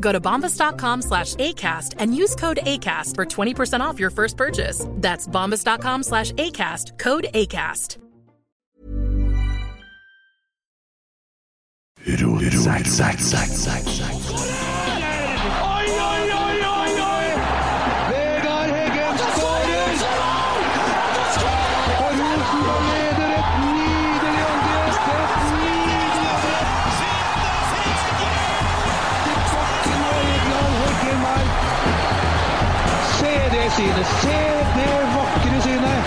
Go to bombas.com slash ACAST and use code ACAST for 20% off your first purchase. That's bombas.com slash ACAST, code ACAST. Zack, zack, zack, zack, zack. Oi, oi, oi, oi, oi! Vegard Heggen skårer! Og Rosenborg leder et nydelig angrep! Et nydelig angrep! Til korten og Egeland Heggen her. Se det synet! Se det vakre synet!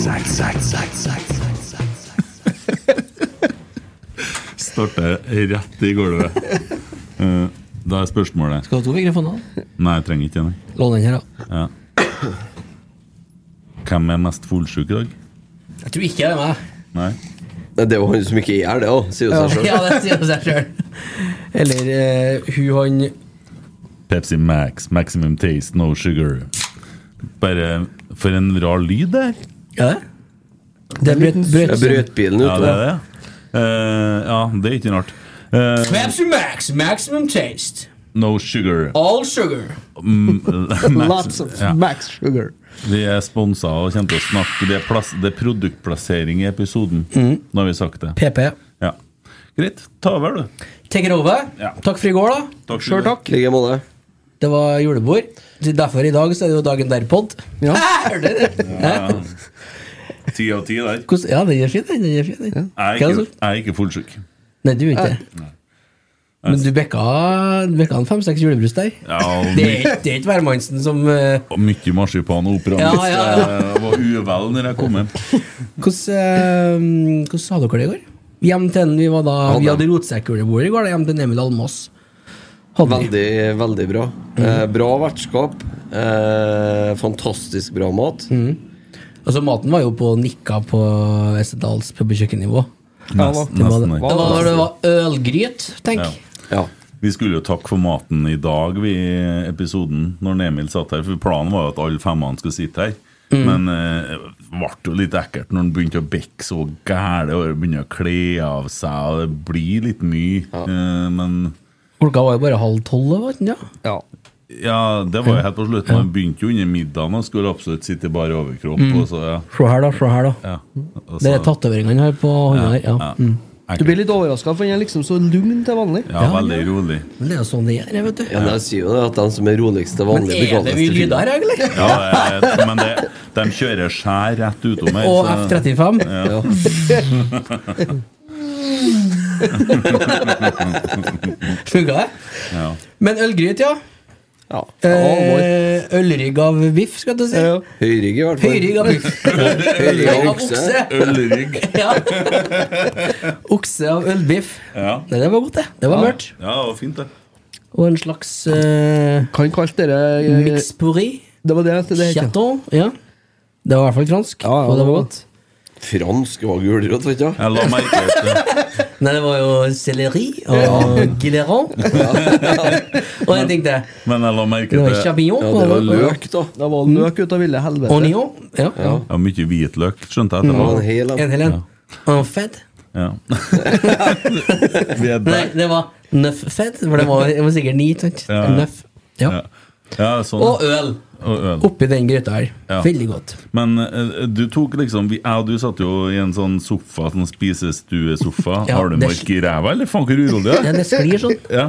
Zack, zack, zack, zack, zack, zack, zack. Starter rett i gulvet. Eh, Da er spørsmålet Skal du ha to mikrofoner? Nei, jeg trenger ikke det. Lån den her, da. Hvem er mest fullsjuk i dag? Jeg tror ikke det er meg. Nei? Nei, Det er jo han som ikke er det, da, sier jo seg selv. Ja, det sier seg sjøl. Eller eh, hun han Pepsi Max, maximum taste, no sugar. Bare for en rar lyd der. Ja, det? Det er brøt, brøt, Jeg brøt bilen Ja, ute. det er det. Eh, ja, det er ikke rart. Eh, Pepsi Max, maximum taste. no sugar. All sugar. Max, ja. max sugar. Vi er sponsa og kommer til å snakke. Det er, plass, det er produktplassering i episoden. Mm. Nå har vi sagt det. PP. Ja. Greit. Ta over, du. Take it over. Ja. Takk for i går, da. Takk for i Sjøl går. takk. I like måte. Det var julebord. Så Derfor i dag så er det jo dagen der-pod. Ja. Ti av ti der. ja, den er fin, den. den er fin, Jeg er den. Hva er det ikke, som- jeg er ikke fullsjuk. Nei, du er ikke det. Men du bekka, du bekka en fem-seks julebrus der. Ja, og Det my, er, det er ikke hvermannsen som eh, og mye marsipan og opera. Ja, ja, ja. Jeg var uvel når jeg kom hjem. Hvordan eh, hvordan hadde dere det i går? Hjem til en, vi, var da, vi hadde rotsekkjulebord i går, da, hjem til Emil Almås. Hadde vi. Veldig, veldig bra. Mm. Eh, bra vertskap. Eh, fantastisk bra mat. Mm. Altså, maten var jo på nikka på Estedals pub- og kjøkkennivå. Nest, nesten Det var, det. ikke. det var når det var ølgryt, tenk. Ja. Ja. Vi skulle jo takke for maten i dag vi, i episoden, når Emil satt her. For planen var jo at alle femmene skulle sitte her. Men eh, det ble jo litt ekkelt når han begynte å bekke så gæle og begynne å kle av seg. Og det blir litt mye. Eh, men Klokka var jo bare halv tolv, var den, ja? ja, det var jo helt på slutten. Han begynte jo under middagen og skulle absolutt sitte i bar overkropp. Og så, ja, Se her, da. se her da ja. Og Det er så- tatoveringene han har på hånda her. Ja. ja. Mm. Ekkelt. Du blir litt overraska, for han er liksom så lugn til vanlig. ja, veldig rolig. Men Det er jo sånn det er, vet du. Ja, de sier jo det at de som er roligst til Men vanlig, blir er det kaldest mye til lyd filmen. der, egentlig? Ja, eh, men det, de kjører skjær rett utom her. Og så- F35. Funka det? Ja. Men ølgryt, ja. Ja. Eh, Ølrygg av biff, skal du si. Høyrygg, i hvert fall. Høyrygg av biff. Høyrygg av Ølrygg av okse. okse. Ja. Okse av ølbiff. Ja. Nei, det var godt, det. Det var mørkt. Ja, det var fint, det. Og en slags eh, Kan kalle dere mix pourri. Det var det det het. ja. Chaton. Ja. Det var i hvert fall fransk, Ja, ja, og det det var var godt. Fransk var gulrot, vet du. Jeg la merke til det. Nei, det var jo selleri og gilleron. og jeg tenkte Men jeg la merke Det til var det. champignon. Ja, det var løk, da. Det var løk ut av ville helvete. Onion. Ja. Ja, mye hvitløk, skjønte jeg Det var etterpå. en hel En en. hel en. En fed. Ja. Vi er Nei, der. det var nøff fed, for det var, det var sikkert ni. sant? Ja. Nøff. Ja. Ja. ja, sånn. Og øl Og øl. oppi den gryta her. Ja. Veldig godt. Men eh, du tok liksom vi, Jeg og du satt jo i en sånn sofa, sånn spisestuesofa. Ja, Har du det- mark i ræva, eller faen, hvor urolig Ja, du er? det sklir sånn. Ja.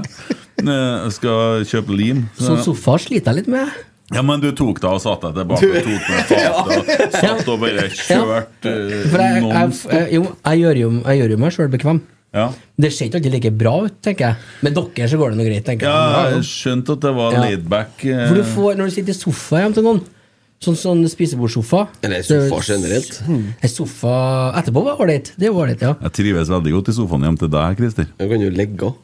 Eh, Jeg skal kjøpe lim. Sånn sofa sliter jeg litt med. Ja, men du tok deg og satte deg tilbake og tok med fatet og satt og bare kjørte eh, For jeg, jeg, noen jeg, jo, jeg gjør jo, jeg gjør jo meg sjøl bekvem. ja. Det ser ikke alltid like bra ut, tenker jeg. Med dere så går det nå greit, tenker ja, jeg. jeg skjønte at det var Ja. laidback. eh, For du får, når du sitter i sofa hjemme til noen, sånn, sånn spisebordsofa Hmm. Eller sofa generelt. En sofa etterpå var ålreit. Det var ålreit, ja. Jeg trives veldig godt i sofaen hjem til deg, Christer. Du kan jo legge av.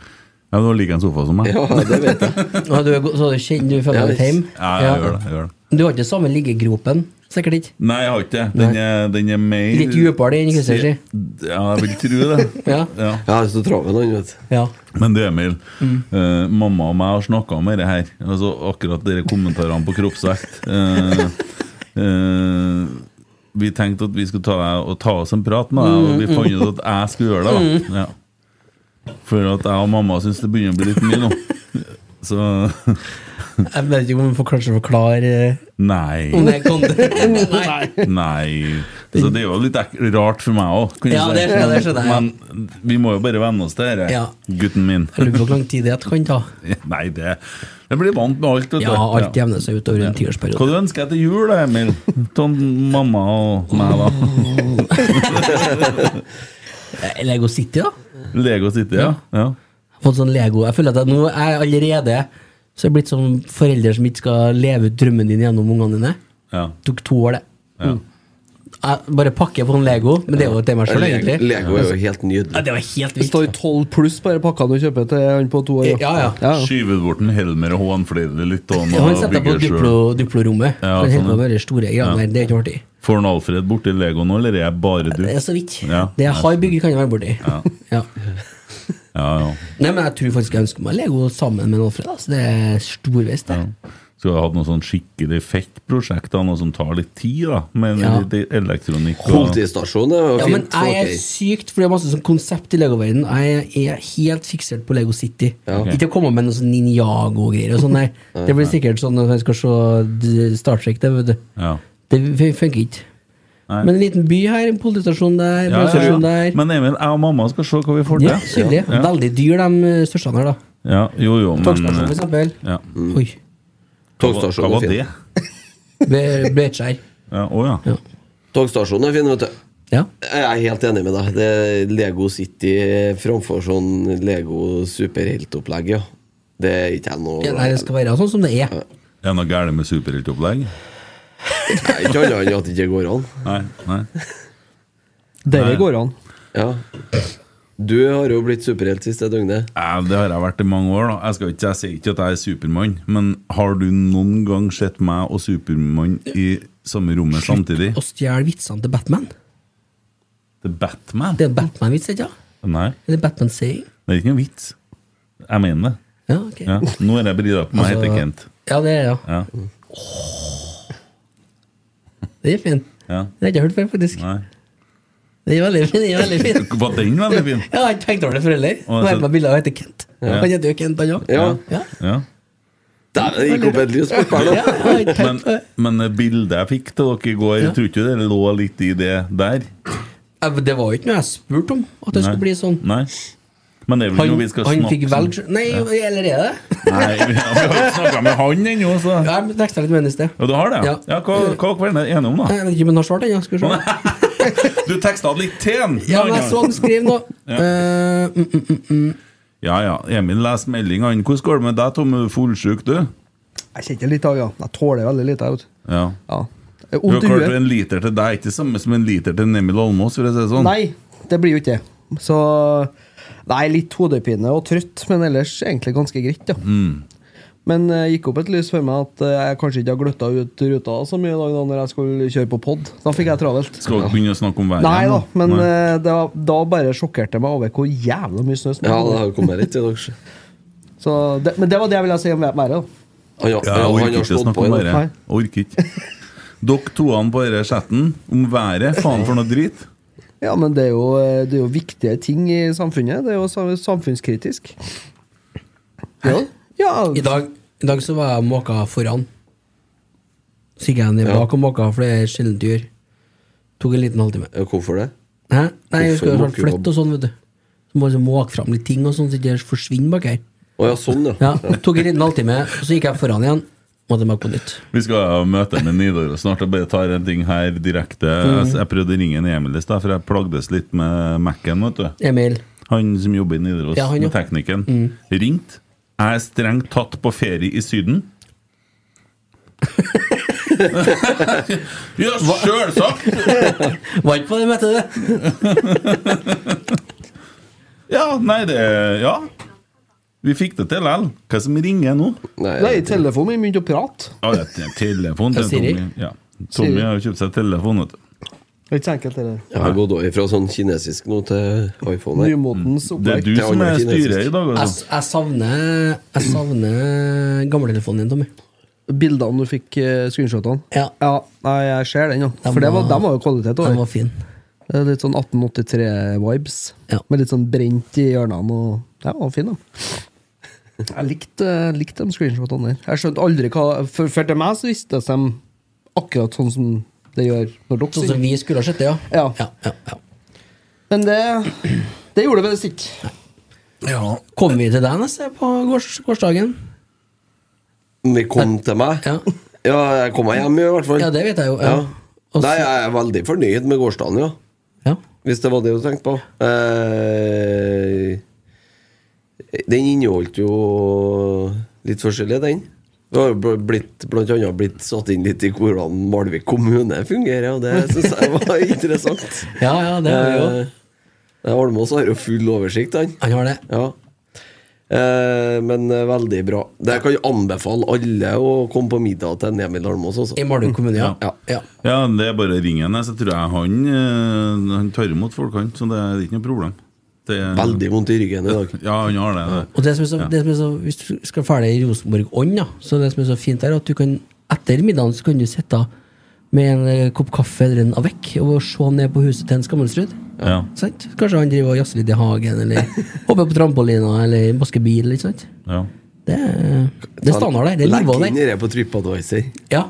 Ja, du har like en sofa som meg. Ja, det vet jeg. Og du, er god- så du kjenner du føler deg Ja, hjemme? Ja, jeg gjør det. jeg gjør det Du har ikke samme liggegropen? Sikkert ikke. Nei, jeg har ikke det. Den er, den er mer Litt dypere enn Christer sier. Ja, jeg vil tro det. Ja. Ja. Jeg er så travel, han, vet du. Ja. Men du, Emil. eh, mamma og meg har snakka om dette her. Altså akkurat dere kommentarene på kroppsvekt. Eh, eh, vi tenkte at vi skulle ta, og ta oss en prat med deg, og vi fant ut at jeg skulle gjøre det. da ja. For at jeg og mamma syns det begynner å bli litt mye nå. Så Jeg vet ikke om vi får kanskje forklare eh, om nei. det kan Nei. Nei. Så det er jo litt ek rart for meg òg. Ja, det skjønner jeg, det skjønner jeg. Men vi må jo bare venne oss til dette, Ja. gutten min. Jeg lurer på hvor lang tid det kan ta. Nei, det Jeg blir vant med alt. vet du. Ja, alt jevner seg ut over en Hva tiårsperiode. du ønsker jeg til jul, da, Emil? Til mamma og meg, da. Eh, Lego City, da? Lego City, ja. ja. Jeg har fått sånn Lego. Jeg føler at jeg nå er jeg allerede så jeg er blitt sånn forelder som ikke skal leve ut drømmen din gjennom ungene dine. ja. Tok to år, det. Mm. ja. Jeg bare pakker på en Lego, men det er jo til meg sjøl, Lego, egentlig. Lego er jo helt Ja, nydelig. det var helt Det vilt. står 12 pluss på denne pakka du kjøper til han på to år. Ja, ja. Skyver bort en Helmer og hånflirer det litt og Ja, han han setter på bygger duplo, sjøl. duplorommet. Ja, Han holder sånn, på ja. med de store greiene der. Det er ikke artig. Får han Alfred borti Lego nå, eller er jeg bare du? Det er så vidt. Ja. Det jeg har bygd, kan jeg være borti. Ja. Ja. Ja, ja. Nei, men jeg tror faktisk jeg ønsker meg Lego sammen med Alfred. Altså. Det er storveis, det. Skulle ha hatt noe sånn skikkelig fett prosjekt, da, noe som tar litt tid, da. Med Ja. litt elektronikk og Politistasjon er jo Ja, men fint. jeg er ok. sykt, for det er masse sånn konsept i Lego-verdenen. Jeg er helt fiksert på Lego City. Ok. Ikke å komme med noe sånn Ninjago-greier og sånn, nei. Det blir sikkert sånn når jeg skal se d- Star Trek, det, vet du. ja. Det fun- funker ikke. Nei. Men en liten by her, en politistasjon Ja, der, ja, brannstasjon ja. sånn der. Men Emil, jeg og mamma skal se hva vi får til. Ja, kjedelig. Veldig dyr, de eh, største her, da. Ja, jo, jo, Togstasjon, for men eh, eksempel. ja. Mm. Oi. Hva Togstasjonen var er det? fin. Ble- Blekskjær. Ja, Å ja. Ja. Togstasjonen er fin, vet du. Ja. Jeg er helt enig med deg. Det er Lego City framfor sånn Lego superheltopplegg, ja. Det er ikke jeg noe Ja, Nei, det skal være sånn som det er. Er det noe galt med superheltopplegg? Det er Ikke annet enn at det ikke går an. Nei. nei Dere Nei. går an. Ja. Du har jo blitt superhelt siste døgnet. Eh, Det har jeg vært i mange år. da Jeg, skal ikke, jeg sier ikke at jeg er Supermann, men har du noen gang sett meg og Supermann i samme rommet samtidig? Å stjele vitsene til Batman. Det er Batman? Det er en Batman-vits, ikke sant? Nei, Eller Batman-saying. det er ikke noen vits. Jeg mener det. Ja, ok. Ja. Nå er jeg brida på meg, Altså- heter Kent. Ja, det er ja. Ja. Det er fin. Ja. Det har jeg ikke hørt før, faktisk. Nei. Det er veldig fin. Det er veldig fin. Var den veldig fin? Jeg har ikke tenkt over det for heller. Å, Nå har så- jeg meg bilde av heter Kent. Han heter jo Kent, han òg. Ja. Ja. Ja. Dæven, det gikk opp et lys på Ja, kvelden. jeg har ikke Men, tenkt på det. men det bildet jeg fikk til dere i går, Ja. tror ikke det lå litt i det der? Ja, men det var jo ikke noe jeg spurte om, at det skulle bli sånn. Nei? Men det er vel Han, noe vi skal han snakke sånn. fikk velge Nei, eller er det? Nei, vi har vi har ikke snakka med han ennå, så Jeg tekstet litt med henne i sted. Ja, du har det? Ja, Ja. Eh, ja Hva hva dere var dere enige om, Nei, da? Jeg vet ikke om han har svart ennå. Skal vi se. Du teksta litt til den! Ja, men jeg så han skrive nå. Eh, mm, mm, mm, mm. ja, ja. Emil leser meldinga. Hvordan går det med deg, Tom? Er du fullsjuk, du? Jeg kjenner litt av, ja. Jeg tåler veldig lite. Jeg, vet. du. Ja. Jeg er Du har Vondt i klart huet. En liter til deg er ikke det samme som en liter til Nemil Almås, for å si det sånn. Nei, det blir jo ikke det. Så Nei, litt hodepine og trøtt, men ellers egentlig ganske greit, ja. Mm. Men eh, gikk opp et lys for meg at eh, jeg kanskje ikke har gløtta ut ruta så mye i dag da når jeg skulle kjøre på pod. Da fikk jeg travelt. Skal ikke begynne å snakke om været. Nei da, igjen, men Nei. eh, det var, da bare sjokkerte jeg meg over hvor jævla mye snø som Ja, var. det har kommet litt i dag. så. Så det, men det var det jeg ville si om været. da. Han har- Ja, han jeg har orker ikke stått snakke på i om dag. været. Jeg Orker ikke. Dere toene på denne chatten om været. Faen for noe drit. Ja, men det er, jo, eh, det er jo viktige ting i samfunnet. Det er jo sa- samfunnskritisk. Ja. I, dag, I dag så var jeg måka foran. Så gikk jeg ned bak og måka, for det er sjeldent du gjør. Tok en liten halvtime. Ja, Hvorfor det? Hæ? Nei, jeg Hvorfor skal jo snart måker du flytte og sånn, vet du. Så må jeg liksom måke fram litt ting og sånn, så ikke det forsvinner bak her. Å ja, sånn, ja. Ja, Tok en liten halvtime, så gikk jeg foran igjen. Måtte måke på nytt. Vi skal ha møte med Nidaros snart. Jeg bare tar en ting her direkte. Mm. Jeg- Jeg prøvde å ringe en Emil i stad, for jeg plagdes litt med Mac-en. vet du. Emil. Han som jobber i Nidaros, Ja, han, ja. med teknikken. Ringt. Jeg er strengt tatt på ferie i Syden. ja, sjølsagt! Var ikke på det møtet, det. Ja, nei, det Ja. Vi fikk det til likevel. Hva som ringer nå? Nei, telefonen min begynte å prate. Ja, det er telefon Ja, til Siri. Tommy. Ja. Tommy har jo kjøpt seg telefon. Vet du. Det er ikke så enkelt, det der. Jeg har gått over fra sånn kinesisk nå til iPhone. her. Nymotens Mm. Det er du opplegg. som er styrer i dag, Jeg, altså. jeg savner, jeg savner gamletelefonen din, Tommy. Bildene du fikk, eh, screenshotene? Ja. Nei, jeg ser den, ja. Den For det var, var- dem var jo kvalitet. Den var fin. Det er litt sånn 1883-vibes. Med litt sånn brent i hjørnene. Og... Det var fin, da. Jeg likte, jeg likte de screenshotene der. Jeg skjønte aldri hva For, for til meg så visste de akkurat sånn som det gjør når dere Sånn som vi skulle ha sett det, ja. Ja. Men det, det gjorde det visst ikke. Kom vi til deg neste på gårs, gårsdagen? Vi kom til meg. Ja. jeg kom meg hjem, i hvert fall. Ja, det vet jeg jo, ja. Ja. Nei, jeg er veldig fornøyd med gårsdagen, ja. Hvis det var det du tenkte på. Eh, den inneholdt jo litt forskjellig, den. Det har jo bl- blitt, blant annet blitt satt inn litt i hvordan Malvik kommune fungerer, og det syns jeg var interessant. Ja, ja, det er det jo. Eh, Almås har jo full oversikt, han. Han har det. Ja. Eh, men eh, veldig bra. Det kan jeg anbefale alle å komme på middag til en Emil Almås. Også. I Malvik kommune, ja. ja. ja. Ja, det er bare å ringe henne. Så tror jeg han, eh, han tar imot folk, han. Så det er ikke noe problem. Det er, Veldig vondt i ryggen i dag. Ja, han har det. det. Og det som er så, det som er så, Hvis du skal ferdig i Rosenborg-ånd, da, så det som er så fint, er at du kan etter middagen så kan du sitte med en eh, kopp kaffe eller en avec og se ned på huset til en Skammelsrud. Ja. Sant? Kanskje han driver og jazzer litt i hagen, eller hopper på trampolina, eller vasker bil. Ikke sant? Ja. Det, er- det er standard der. Det er Legg nivået inn der. det på TripAdvisor. Ja.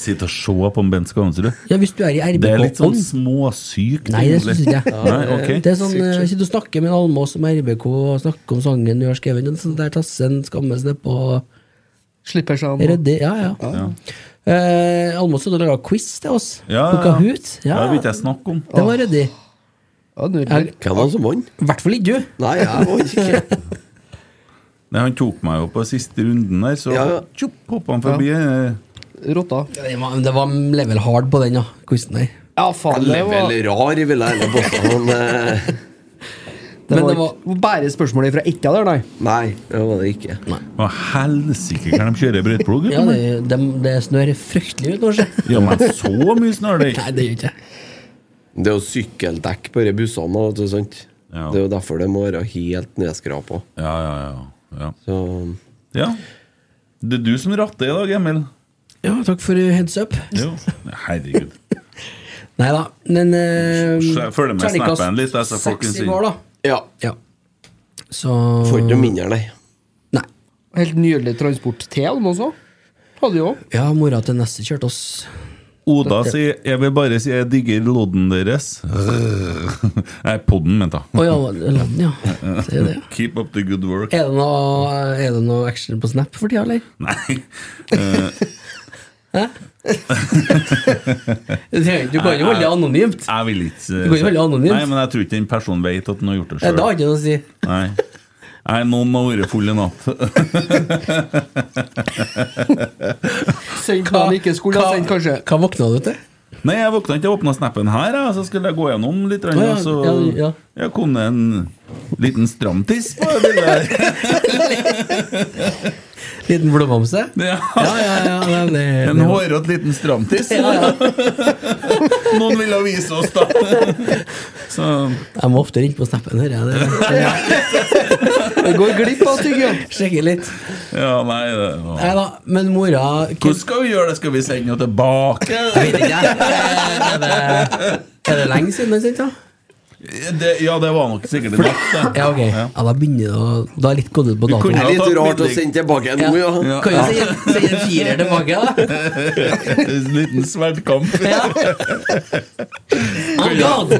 Sitte og se på Bent Skansrud. ja, hvis du er i Det er litt sånn RBK-ånd småsykt. Nei, det syns ikke jeg. Nei, ok. Det er sånn, eh, Sitter og snakker med en Almås om RBK og snakker om sangen du har skrevet. og sånn Der Tassen skammes nedpå. Slipper seg an. Ryddig. Ja, ja. Eh, Almås hadde laga quiz til oss. Ja, På ja, ja. Kahoot. Ja. Ja, det vil ikke jeg snakke om. Det var ryddig. Jeg- Hvem var det som vant? I hvert fall ikke du. Nei, jeg vant ikke. Nei, han tok meg jo på siste runden der, så Ja, ja. tjopp, hoppa han forbi. eh, Rotta. Ja, Det var, det var level hard på den ja, quizen der. Ja, faen, det var, Level rar, vil jeg heller påstå. Men eh, det Men var, det var ikke- bare spørsmålet fra ikke der, nei. nei, det var det ikke. Hva helsike kan de kjøre brøyteplog? ja, det, det, det snør fryktelig ut nå, se. Ja, men så mye snør det ikke. Nei, det gjør ikke jeg. Det er jo sykkeldekk på de bussene. da, vet du, sant? Ja. Det er jo derfor det må være helt nedskrapa. Ja, ja, ja, ja. Så ja. Det er du som ratter i dag, Emil. Ja, takk for heads up. Jo. Herregud. Nei da, men eh, Så jeg følger med terningkast snappen litt, altså, folkens, Seks i inn. går, da. ja. Ja. Så Får ikke noe mindre, nei. Nei. Helt nydelig transport til dem også. Hadde jo. Ja, mora til neste kjørte oss. Oda sier 'Jeg vil bare si jeg digger lodden deres'. Nei, podden, mente Å jeg. ja, land, ja. Se det. Keep up the good work. Er det noe, er det noe action på Snap for tida, eller? Nei. Du trenger- du kan jo holde det anonymt. Jeg vil ikke Du kan jo holde anonymt. Nei, men jeg tror ikke den personen vet at den har gjort det Nei, Det sjøl. har ikke noe å si. Nei. Nei, noen har vært full i natt. Send hva han ikke skulle ha sendt, kanskje. Hva våkna du til? Nei, jeg våkna ikke. Jeg åpna snappen her, jeg, så skulle jeg gå gjennom litt. Å, Og ja, så ja, ja. Jeg kom det en liten stramtiss på det bildet her. Liten blodbamse? Ja. ja, ja, ja, det, det, En hårete liten stramtiss. Noen ville vise oss, da. Så Jeg må ofte ringe på snappen her. Jeg. Det, Du går glipp av ting, ja. Sjekke litt. Ja, nei, det var Nei da, men mora Hvordan skal vi gjøre det? Skal vi sende henne tilbake? Jeg vet ikke, jeg. Er det, er det lenge siden den sendte? da? Det, ja, det var nok sikkert i natt. det. Ja, ok. Ja, da begynner det å Da er litt gått ut på Du dato. kunne ha Det er litt tatt rart å middag. sende tilbake nå, ja. Ja. Kan jo sende sende en firer tilbake, da. En liten sverdkamp. Ja. Oh God!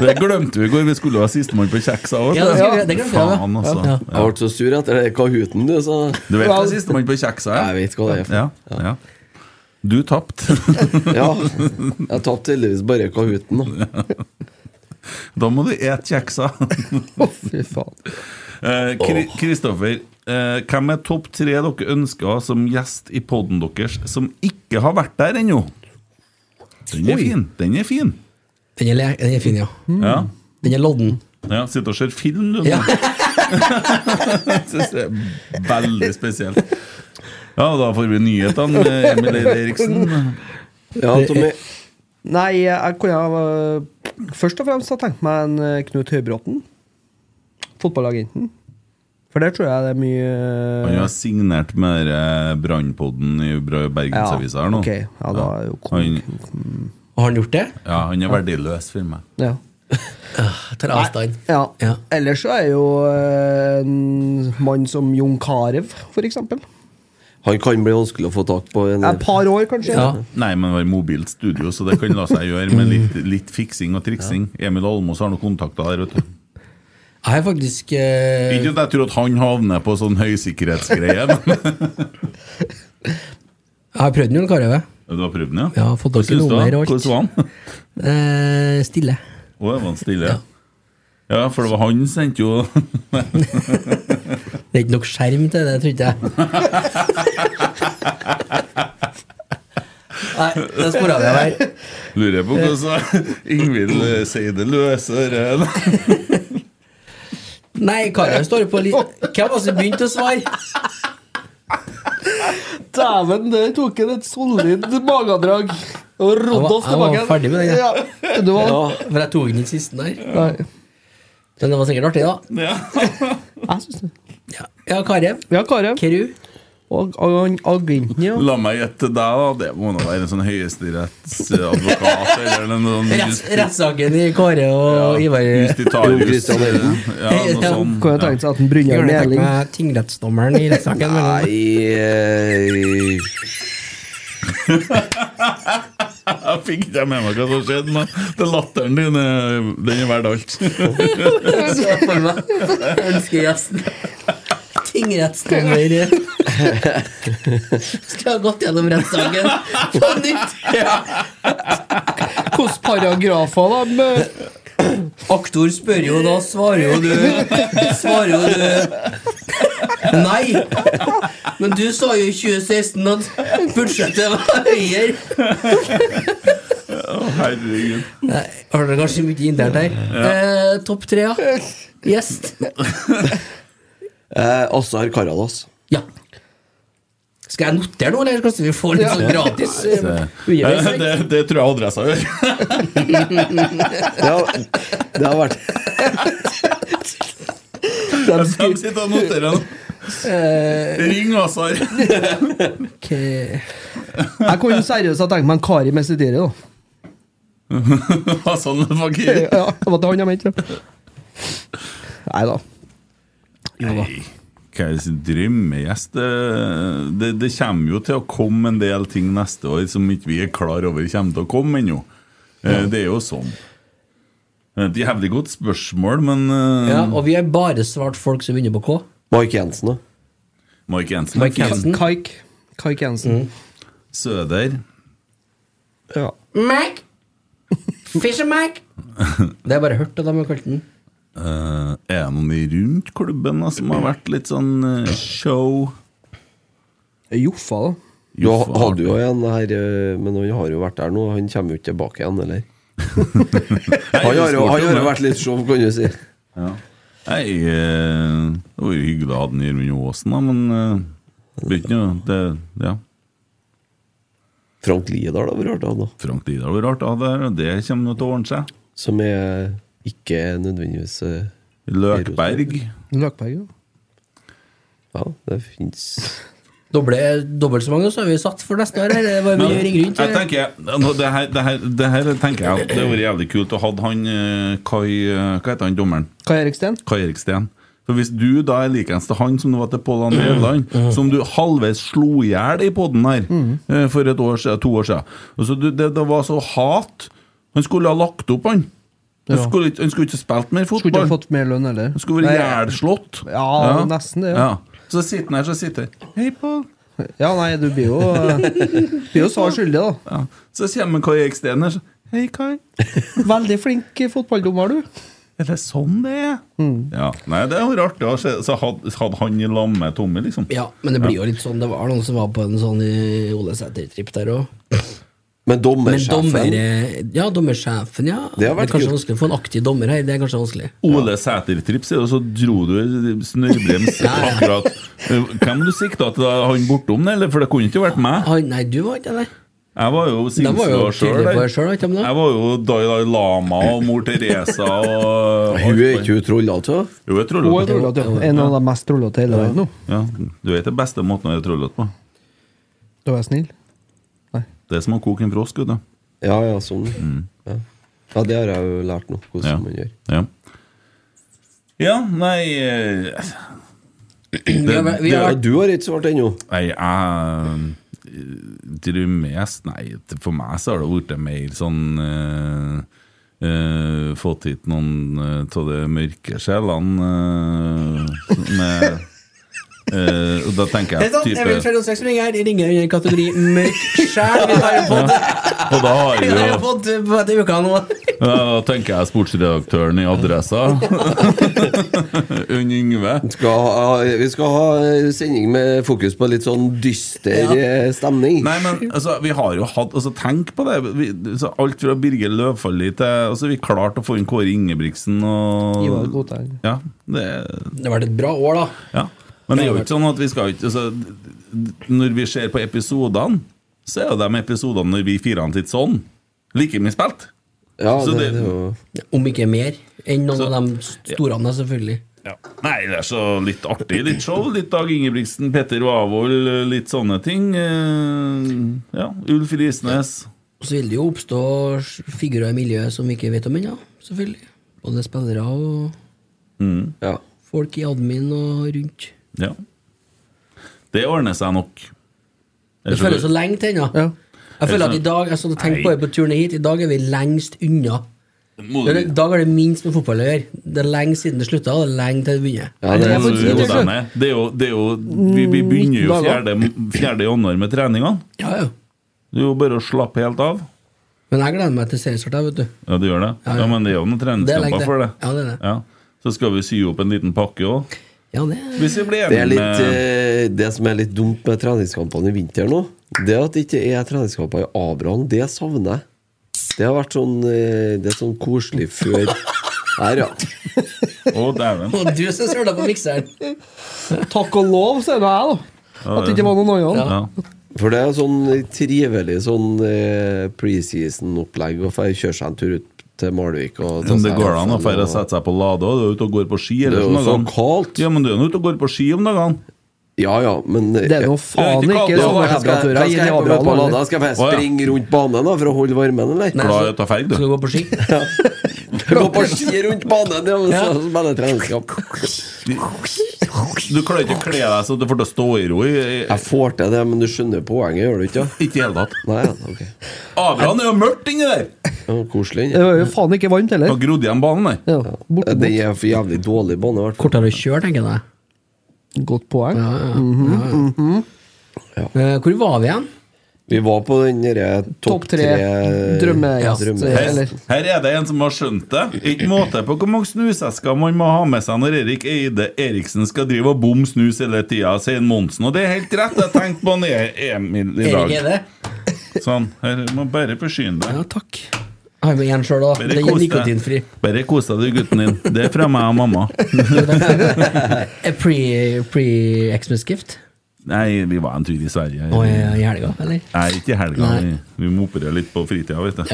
Det glemte vi i går. Vi skulle ha sistemann på kjeksa òg. Ja, det skulle vi- det glemte vi, ja. Faen, altså. Ja. Jeg ble så sur etter det Kahooten, du, så Du vet hva sistemann på kjeksa Jeg er? vet hva det er. Ja, ja. Du tapte. Ja. Jeg tapte heldigvis bare Kahooten, da. Da må du et kjeksa. Å, fy faen. Eh, Kri- Kristoffer, eh, hvem er topp tre dere ønsker å ha som gjest i poden deres, som ikke har vært der ennå? Den er Oi. fin. Den er fin. Den er, le- den er fin, ja. Ja. Den er lodden. Ja, Sitter og ser film, du. Hmm? Ja. Synes det er veldig spesielt. Ja, da får vi nyhetene med Emil Eide Eriksen. Ja, Tommy. Nei, jeg kunne ha øh, Først og fremst har jeg tenkt meg en øh, Knut Høybråten. Fotballagenten. For der tror jeg det er mye øh, Han har signert med eh, Brannpodden i Bra- Bergensavisa her nå. ok. Ja, da er jo han, Har han gjort det? ja, han er verdiløs for meg. Ja. Jeg tar avstand. ja. Ja. Ellers så er jo øh, en mann som Jon Carew, for eksempel. Han kan bli vanskelig å få tak på. En, Et par år, kanskje. Ja. Nei, men det var i mobilt studio, så det kan la seg gjøre med litt, litt fiksing og triksing. Emil Almås har noen kontakter der, vet du. Jeg har faktisk eh, Ikke at jeg tror at han havner på sånn høysikkerhetsgreie, men Jeg har prøvd den, Jon Carew. Du har prøvd den, ja? Ja, fått tak i Hva syns du, da? nummer og alt. Hvordan var han? Eh, stille. Å, jeg var stille. Ja, for det var han sendte jo Det er ikke nok skjerm til det, tror ikke jeg. Nei, det spora vi av her. Lurer på hvordan Ingvild eh, sier det løser eh, Nei, Carew står på li... Hvem var det som begynte å svare? Dæven, der tok han et solid magedrag. Og rodde oss Jeg var- tilbake. jeg var ferdig med den, Ja. jeg. Du var, Ja, for jeg tok den i siste der. Nei. Men det var sikkert artig, da. ja. Jeg synes det. Ja, ja Carew. Ja, Carew. Keru. Og, og, han agenten, ja. La meg gjette deg, da. Det må nå være en sånn høyesterettsadvokat eller en sånn Rett- Rettssaken i Kåre og Ivar Jo, Justitarius. Christian Elden. Ja, noe sånn. Kunne jeg tenkt seg at han Brynjar Gjør det takk Meling med tingrettsdommeren i rettssaken. Nei mellom- eh, Jeg fikk ikke med meg hva som skjedde, men det latteren din eh, Den er verdt alt. Se for meg ønskegjesten. Tingrettsdommer Skulle ha gått gjennom rettssaken på nytt. Hvilke paragrafer, da? med- Aktor spør jo, da svarer jo du Svarer jo du Nei! Men du sa jo i 2016 at budsjettet var høyere. Å, herregud. Nei, Har dere kanskje mye internt her? Eh, Topp tre, ja. Gjest. eh, Azar Karadas. Ja. Skal jeg notere noe, eller skal vi få litt sånn gratis? Eh, Det, det tror jeg adressa gjør. Det har, det har vært De sitter og noterer nå. Ring Azar. Ok. Jeg kunne seriøst ha tenkt meg en Kari Mesidiri, da. Hassan Fakir. Ja, det var det han jeg mente. Nei da. Nei, Hva er det sin drømmegjest? Det, det, det kommer jo til å komme en del ting neste år som ikke vi er klar over kommer til å komme ennå. Eh, Det er jo sånn. Eh, Et jævlig godt spørsmål, men eh, Ja, og vi har bare svart folk som begynner på K. Mike Jensen, da. Mark Jensen Mark Finn Jensen. Kaik. Kaik Jensen. Mm. Søder. Ja. Mac. Fisher Mac. Det har jeg bare hørt at de har kalt den. Eh, er det noen i rundt klubben da, som har vært litt sånn eh, show? Joffa, da. Du Joffa, hadde jo en her, eh, men han har jo vært der nå. Han kommer jo ikke tilbake igjen, eller? han har jo, han har jo vært litt show, kan du si. Ja. Nei, eh, det var jo hyggelig å ha den Gjermund Aasen, da, men eh, det blir ikke noe det, ja. Frank Liedal har vært rart å ha, da. Frank Liedal har vært rart å ha der, og det kommer nå til å ordne seg. Som er ikke nødvendigvis eh, Løkberg. Løkberg, ja. Ja, det fins Doble, dobbelt så mange så har vi satt for neste år. her. Det er bare mye å ringe rundt. jeg tenker, nå, det, her, det, her, det her tenker jeg at det hadde vært jævlig kult å ha han eh, Kai eh, Hva heter han dommeren? Kai Eriksten? Kai Eriksten. For hvis du da er likens til han som du var til Pål André Øverland, Mm. som du halvveis slo i hjel i poden her eh, for et år siden, to år siden Og så du, det, det var så hat. Han skulle ha lagt opp, han. Han Ja. skulle, ikke- han skulle ikke spilt mer Skulle ikke ha fotball. fått mer lønn, eller? Han skulle vært ihjelslått. Ja, nesten det, ja. Så sitter han her, så sitter han Hei, Pål. Ja, nei, du blir jo eh, Blir jo svar skyldig, da. Ja. Så kommer Kai Eksten her. så, Hei, Kai. Veldig flink fotballdommer, du. Er det sånn det er? Ja. Nei, det er jo rart. da. Så så hadde, hadde han i lag med Tommy, liksom. Ja, men det blir jo litt sånn Det var noen som var på en sånn i Ole Sæter-tripp der òg. Men Men dommersjefen dommer, eh, ja, dommersjefen, ja. Det har vært er kanskje kult. vanskelig å få en aktiv dommer her. Det er kanskje vanskelig. Ole Sæter-tripp, sier du, og så dro du snørrbrems akkurat. Eh, Hvem du sikta til? da? Han bortom det, eller? For det kunne ikke vært meg. Nei, du var ikke der. Jeg var jo Da var jo sinnssyk sjøl. tydelig på deg Jeg selv, ikke om det? var jo Dalai Lama og mor Teresa og Hun er ikke altså. hun trollete? Hun er Hun er trollete. trollete, ja. En av de mest trollete i hele verden nå. Ja, du vet det beste måten å være trollete på? Da var jeg snill. Det er som å koke en frosk, vet du. Ja, ja, sånn. Ja. ja, det har jeg jo lært nå, Mm. hvordan Ja. man gjør. Ja. Ja, nei eh, Vi har vært- vi har vært- Du har ikke svart ennå. Nei, jeg eh, drømmer mest Nei, for meg så har det blitt mer sånn eh, eh, Fått hit noen eh, av de mørke sjelene eh, med eh, Og da tenker jeg Emil type 506 ringer her. Ringer under kategori mørk sjæl. Vi har jo fått, Og da har vi vi har jo jo fått på dette uka nå. ja, Da tenker jeg sportsredaktøren i Adressa. Unn Yngve. Skal ha, vi skal ha eh, sending med fokus på litt sånn dyster eh, stemning. Nei, men altså, vi har jo hatt altså, Tenk på det! Vi, så alt fra Birger Løvfalli til altså, Vi klarte å få inn Kåre Ingebrigtsen og Ivar Godthaug. Ja, det, Det har vært et bra år, da. ja. Men det er jo ikke sånn at vi skal ikke altså, d- d- Når vi ser på episodene, så er jo de episodene når vi firene sitter sånn, like mye spilt. Så det- Om ikke mer enn noen av de store, da, selvfølgelig. Nei, det er så litt artig. Litt show. Litt Dag Ingebrigtsen, Petter Wavold, litt sånne ting. Eh, Ja, Ulf Risnes. Og så vil det jo oppstå s- figurer i miljøet som vi ikke vet om ennå, selvfølgelig. Både spillere og Mm. Ja. folk i admin og rundt. Ja. Det ordner seg nok. Det føles så lenge til ennå. Jeg føler at i dag, jeg satt og tenkte på det på turen hit, i dag er vi lengst unna. Må Eller, I dag er det minst med fotball å gjøre. Det er lenge siden det slutta, og det er lenge til det begynner. Ja, det, er, det, er jo denne. det er jo, det er jo vi, vi begynner jo 4. fjerde januar med treningene. Ja, ja. Det er jo bare å slappe helt av. Men jeg gleder meg til seriestart, jeg, vet du. Ja, det gjør det. Ja, Ja, ja. Men det er jo noen Det er treningskamper like for det. det. Ja, det er det. Så skal vi sy opp en liten pakke òg. Hvis vi blir Det, er enige litt, med eh, det som er litt dumt med treningskampene i vinter nå, det er at det ikke er treningskamper i A-branen. Det savner jeg. Det har vært sånn eh, Det er sånn koselig før Her, ja. Å, dæven. Og du som søla på mikseren. Takk og lov, sier nå jeg, da. At det ikke var noen sånn. andre. For det er sånn trivelig sånn eh, preseason-opplegg å få kjøre seg en tur ut til Malvik. Og ta om det seg går an å en fære og og- sette seg på Lade òg. Du er ute og går på ski. Det er jo så kaldt. Ja, men du er nå ute og går på ski om dagene. Ja ja, men Det er noe faen ikke sånne Hva skal jeg- temperaturer hva i skal jeg på Adrian, med på Lada? eller? Skal Å, jeg ja. springe rundt banen da for å holde varmen, eller? Glad i å ta ferg, du. Skal du gå på ski? Gå på ski rundt banen, ja, og så spille treningskamp. Du klarer ikke å kle deg så du får til å stå i ro. Jeg får til det, men du skjønner poenget, gjør du ikke? Ikke i hele tatt. Nei, ok. Abraham er jo mørkt inni der! Det var koselig. Det var jo faen ikke varmt heller. Har grodd igjen banen, nei. Ja, borte, Den borte. er for jævlig dårlig bane, i hvert fall. Kortere å kjøre, tenker jeg. Godt poeng. Ja, ja. Mhm, ja, ja. mhm. Eh, Hvor var vi igjen? Vi var på den derre topp Topp tre drømmegjest, Her, her er det en som har skjønt det. Ikke måte på hvor mange snusesker man må ha med seg når Erik Eide Eriksen skal drive og bomme snus hele tida, sier Monsen. Og det er helt rett, jeg tenkte på han E- Emil i dag. Erik Eide. Sånn. Her må bare forsyne deg. Ja, takk. Jeg har med en sjøl, da. Den er nikotinfri. Bare kos deg, du, gutten din. Det er fra meg og mamma. Eh, pre- Pre-Xmas-gift? Nei, vi var en tur i Sverige. Å, ja, i helga, eller? Nei, ikke i helga. Nei. Vi, vi må operere litt på fritida, vet du.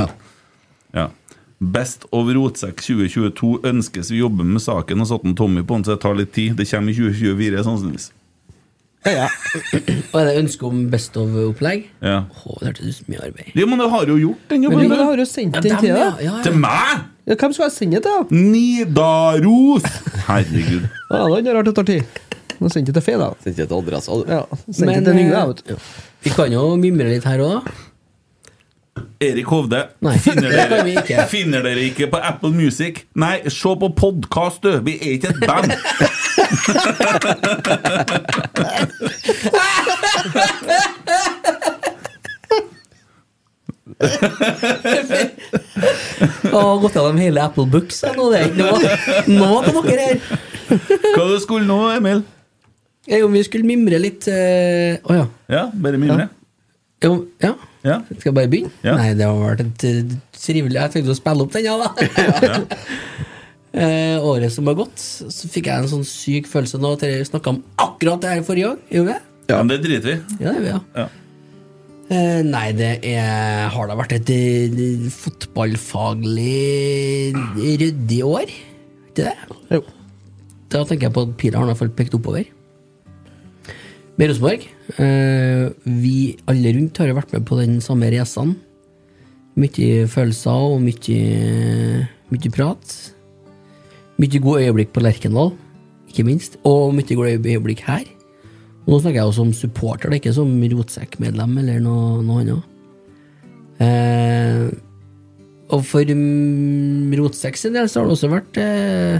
Ja. Best of Rotsekk 2022 ønskes vi jobber med saken og satt en Tommy på den, så det tar litt tid. Det kommer i 2024, sannsynligvis. Ja, Og er det ønske om best of-opplegg? Ja. Å, det hørtes ut som mye arbeid. Jo, men du har jo gjort den Men jobben. du du. har jo sendt Ja, den dem, til ja, deg. ja, ja. Til meg?! Ja, hvem skal jeg sende den til? da? Nidaros! Herregud. Ja, det er rart det tar tid. Nå sendte jeg til Fe, da. Sendte jeg til adressa, du. Ja, sendte Men, jeg til Yngve, eh, jeg, vet du. Vi kan jo mimre litt her òg, da. Erik Hovde, Nei, finner det kan vi dere, ikke. finner dere ikke på Apple Music? Nei, se på podkast, du! Vi er ikke et band! Å, gått gjennom hele Apple Books jeg, nå. Det er ikke noe, noe på dere her. Hva du skulle nå, Emil? Eh, Om vi skulle mimre litt eh, Å ja. Ja, bare mimre. Jo, ja. Ja. Skal jeg bare begynne? Ja. Nei, det har vært et eh, trivelig Jeg tenkte å spille opp den, ja, da. Eh, året som har gått, så fikk jeg en sånn syk følelse nå. at Dere snakka om akkurat det her forrige gang. Gjorde vi det? Men det driter vi i. Ja, det gjorde vi, ja. Ja. Eh, nei, det er, har da vært et eh, fotballfaglig ryddig år. Ikke det? Jo. Da tenker jeg på at pila har i hvert fall pekt oppover. Med Rosenborg eh, Vi alle rundt har jo vært med på den samme reisen. Mye følelser og mye, mye prat. Mye gode øyeblikk på Lerkendal, ikke minst. Og mye gode øyeblikk her. Og nå snakker jeg jo som supporter, det er ikke som rotsekkmedlem eller noe, noe annet. Eh, og for mm, Rotsekk sin del så har det også vært eh,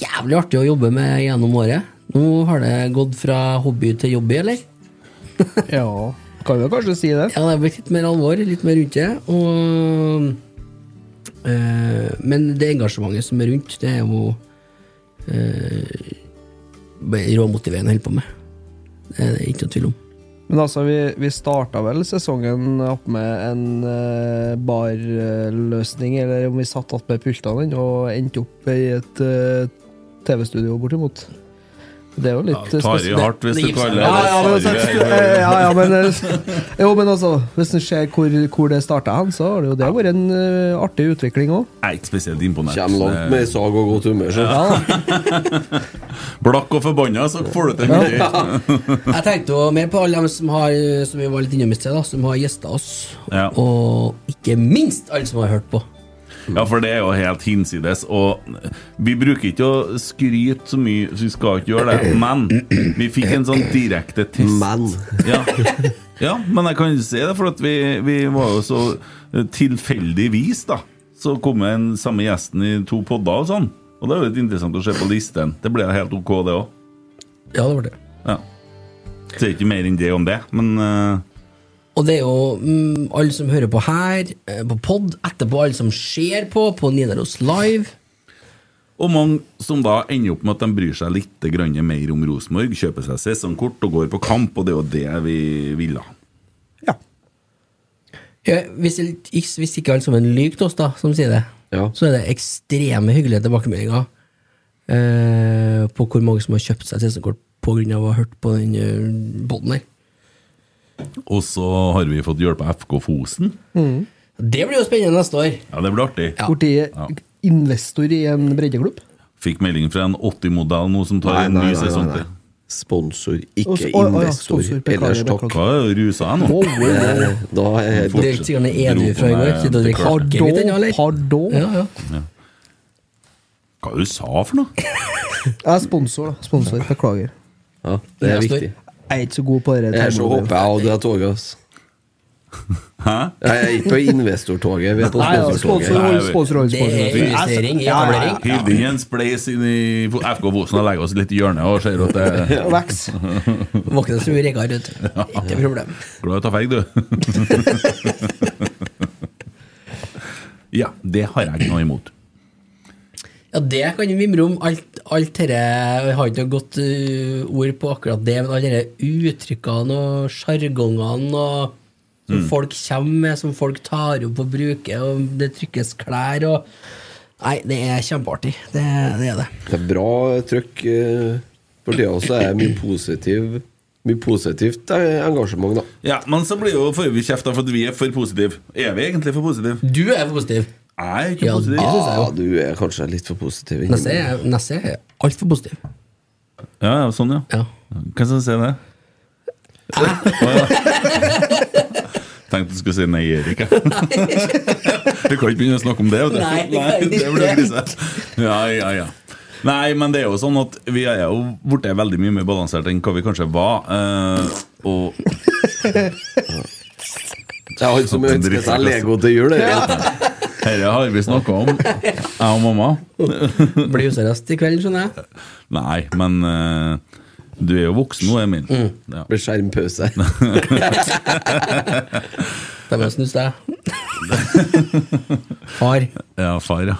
jævlig artig å jobbe med gjennom året. Nå har det gått fra hobby til jobby, eller? Ja, kan jo kanskje si det. Ja, det har blitt litt mer alvor, litt mer rundt det. Og, eh, men det engasjementet som er rundt, det er jo eh, bare råmotiverende å holde på med. Det er det ikke noe tvil om. Men altså, vi, vi starta vel sesongen opp med en eh, barløsning, eller om vi satt opp med pultene den, og endte opp i et eh, TV-studio bortimot. Det er jo litt Ja, tar i spesielt. hardt hvis du kaller det Ja, ja, men, altså, Sorry. eh, ja, ja, men, eh, jo, men altså, hvis en ser hvor, hvor det starta hen, så har det jo det vært en eh, artig utvikling òg. Jeg er ikke spesielt imponert. Eh, Kjem langt med sag og godt humør, så. Blakk og forbanna, så får du til mye. Jeg tenkte jo mer på alle dem som har Som vi var litt innom i sted, da, som har gjesta oss. Ja. Og ikke minst alle som har hørt på. ja, for det er jo helt hinsides. Og vi bruker ikke å skryte så mye, så vi skal ikke gjøre det. Men vi fikk en sånn direkte test. Men Ja. ja, men jeg kan ikke si det, for at vi, vi var jo så tilfeldigvis, da. Så kom den samme gjesten i to podder og sånn. Og det er jo litt interessant å se på listen. Det ble helt ok, det òg. Ja, det var det. Ja. Sier ikke mer enn det om det, men eh, Og det er jo mm, alle som hører på her, eh, på pod, etterpå alle som ser på, på Nidaros Live. Og mange som da ender opp med at de bryr seg litt grann mer om Rosenborg, kjøper seg sesongkort og går på kamp, og det er jo det vi ville. Ja. Ja, hvis, ikke- hvis ikke alle sammen lyver til oss, da, som sier det, Ja. så er det ekstreme hyggelige tilbakemeldinger eh, på hvor mange som har kjøpt seg sesongkort pga. å ha hørt på den båten her. Og så har vi fått hjelp av FK Fosen. Det blir jo spennende neste år. Ja, det blir artig. Ja. Blitt investor i en breddeklubb. Fikk melding fra en 80-modell nå som tar en ny sesong til. Sponsor, Og ikke så- å, å, ja, investor. sponsor, beklager, Ellers takk. beklager. Hva er det, rusa jeg nå? Oh, wow. Eh, Da er jeg Det er ikke sikkert han er edru Dro på fra i går. meg ikke? Da til drikker klart. ikke vi den, eller? Pardon. Ja, ja. Hva er det du sa for noe? Jeg er sponsor, da. Sponsor. Beklager. Ja, det er Investor. viktig. Jeg er ikke så god på det. Jeg er så håper jeg hadde det toget. ass. Hæ? Jeg er ikke på investortoget, vi er på Nei, ja, sponsortoget. sponsor- sponsor- Det er sponsor- investering i etablering. Hiv inn en spleis inn i FK Fosen og legg oss litt i hjørnet og ser at det Veks. Våkne som regger ut. Ikke problem. Glad i å ta feig, du. ja, det har jeg ikke noe imot. Ja, det kan vi mimre om. Alt, alt dette Jeg har ikke noe godt øh, ord på akkurat det, men alle disse uttrykkene og sjargongene og som Mm. folk kommer med, som folk tar opp og bruker, og det trykkes klær og Nei, det er kjempeartig. Det, det er det. Det er bra trøkk eh, for tida også. er mye, positiv, mye positivt eh, engasjement, da. Ja, Men så blir jo får vi kjeft da for at vi er for positive. Er vi egentlig for positive? Du er for positiv. Jeg er ikke positiv. Ah, du er kanskje litt for positiv. inni Neste meg. er, neste er altfor positiv. Ja, ja, sånn, ja. Hvem som sier det? Å, ja. Tenkte du skulle si nei, Erik. jeg. Du kan ikke begynne å snakke om det. Vet du. Nei, det kan jeg det ikke. blir krise. Ja, ja, ja. Nei, men det er jo sånn at vi er jo blitt veldig mye mer balansert enn hva vi kanskje var. eh, og Det er han som ønsker seg Lego til jul. det er jo. Dette har vi snakka om, jeg og mamma. Blir useriøst i kveld, skjønner jeg. Nei, men eh, du er jo voksen nå, Emil. Mm. Ja. Blir skjermpause. Da må jeg snuse deg. Far. Ja, far, ja.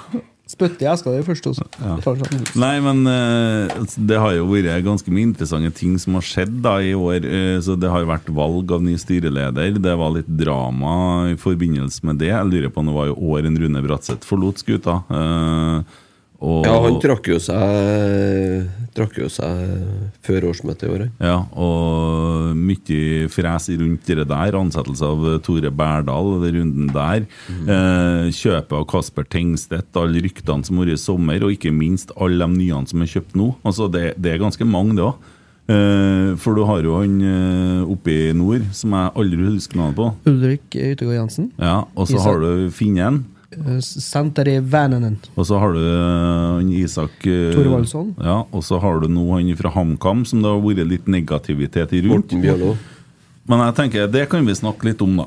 Spytte i eska di først, og så tar den sånn. Nei, men eh, det har jo vært ganske mye interessante ting som har skjedd da i år. Eh, så Det har vært valg av ny styreleder. Det var litt drama i forbindelse med det. Jeg lurer på om det var i år en Rune Bratseth forlot skuta. eh, og, Ja, han trakk jo seg Trakk jo seg før årsmøtet i år. han. Ja, og mye fres rundt det der. Ansettelse av Tore Berdal, den runden der. Eh, kjøpet av Kasper Tengstedt, alle ryktene som har vært i sommer, og ikke minst alle de nyene som er kjøpt nå. Altså, det, det er ganske mange, det òg. Eh, for du har jo han eh, oppe i nord, som jeg aldri husker navnet på. Ulrik Yttergård Jensen. Ja, Og så Isak- har du Finnen. Eh, Santeri Vananen. Og så har du eh, han Isak eh, Thorvaldsson. Ja, og så har du nå han fra HamKam, som det har vært litt negativitet i rundt. Morten Bjørlo. Men jeg tenker, det kan vi snakke litt om, da.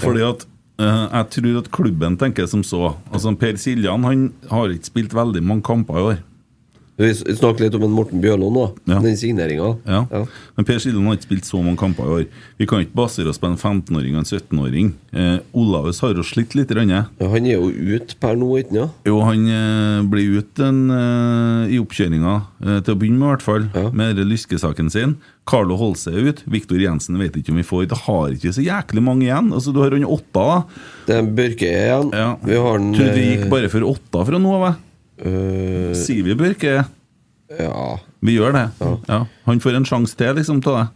Fordi at eh, jeg tror at klubben tenker som så. Altså Per Siljan han har ikke spilt veldig mange kamper i år. Vi s- snakker litt om en Morten Bjørlo nå, den signeringa. Ja. Men Per Siljan har ikke spilt så mange kamper i år. Vi kan ikke basere oss på en 15-åring og en 17-åring. Eh, Olaus har jo slitt litt. Rann, han er jo ute per nå, ikke sant? Jo, han eh, blir ute en, eh, i oppkjøringa, eh, til å begynne med i hvert fall, med denne lyskesaken sin. Carlo holder seg ut. Viktor Jensen vet ikke om vi får. Det har ikke så jæklig mange igjen. Altså, du har han åtta, da. Det er Børke igjen. Ja. Vi har den eh, Tror du det gikk bare for åtta fra nå av, jeg. Sier vi Børke? eh, Ja. Vi gjør det. Ja. Han får en sjanse til, liksom, til deg.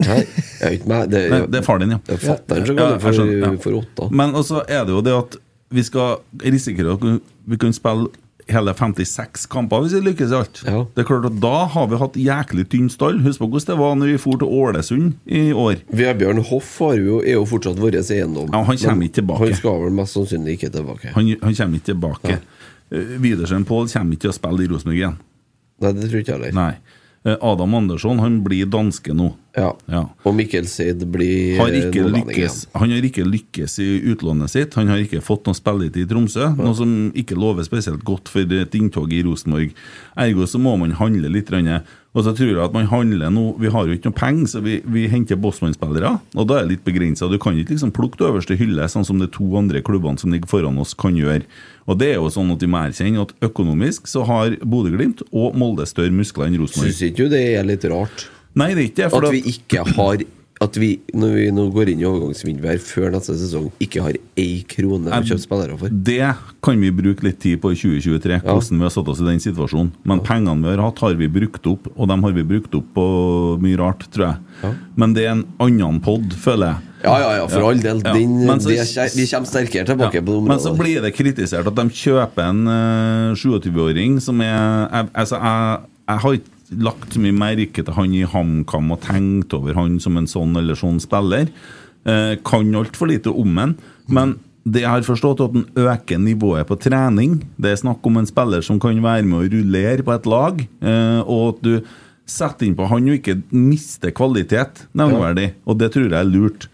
Nei, jeg er ikke meg. Det, Nei, det er far din, ja. Det er fatter'n som Ja, kaller jeg for, skjønner, ja. for åtta. Men også er det jo det at vi skal risikere at vi kan spille hele 56 kamper hvis vi lykkes i alt. Det er klart at Da har vi hatt jæklig tynn stall. Husk på hvordan det var når vi for til Ålesund i år. Vebjørn Hoff har jo, er jo fortsatt vår eiendom. Ja, han kommer Men ikke tilbake. Han skal vel mest sannsynlig ikke tilbake. Han, han kommer ikke tilbake. Eh, Widersen Pål kommer ikke til å spille i Rosenborg igjen. Nei, det tror ikke jeg heller. Nei. Eh, Adam Andersson han blir danske nå. Ja. Ja. Og Mikkel Seid blir har ikke nordlending lykkes, igjen. han har ikke lykkes i utlånet sitt. Han har ikke fått noe spilletid i Tromsø, noe som ikke lover spesielt godt for et inntog i Rosenborg. Ergo så må man handle litt. grann. Og så tror jeg at man handler nå Vi har jo ikke noe penger, så vi, vi henter Bosman-spillere. Og da er det litt begrensa. Du kan ikke liksom plukke det øverste hylle, sånn som de to andre klubbene som ligger foran oss, kan gjøre. Og det er jo sånn at vi må erkjenne at økonomisk så har Bodø-Glimt og Molde større muskler enn Rosenborg. Syns ikke du det er litt rart? Nei, det er ikke det. for At vi ikke har At vi, når vi nå går inn i overgangsvinduet her før neste sesong, ikke har ei krone å Jeg- kjøpe spillere for. Det kan vi bruke litt tid på i 2023, hvordan vi har satt oss i den situasjonen. Men pengene vi har hatt, har vi brukt opp, og dem har vi brukt opp på mye rart, tror jeg. Men det er en annen pod, føler jeg. Ja, ja, ja, for all del. Ja. Den, Men så- det, er- vi kommer sterkere tilbake på det men så området. blir det kritisert at de kjøper en eh, 27-åring som er jeg, Altså, jeg, jeg har ikke lagt så mye merke til han i HamKam og tenkt over han som en sånn eller sånn spiller. Uh, kan altfor lite om han. Men det jeg har forstått, er at han øker nivået på trening. Det er snakk om en spiller som kan være med og rullere på et lag, eh, og at du setter inn på han og ikke mister kvalitet, nevneverdig. Og det tror jeg er lurt.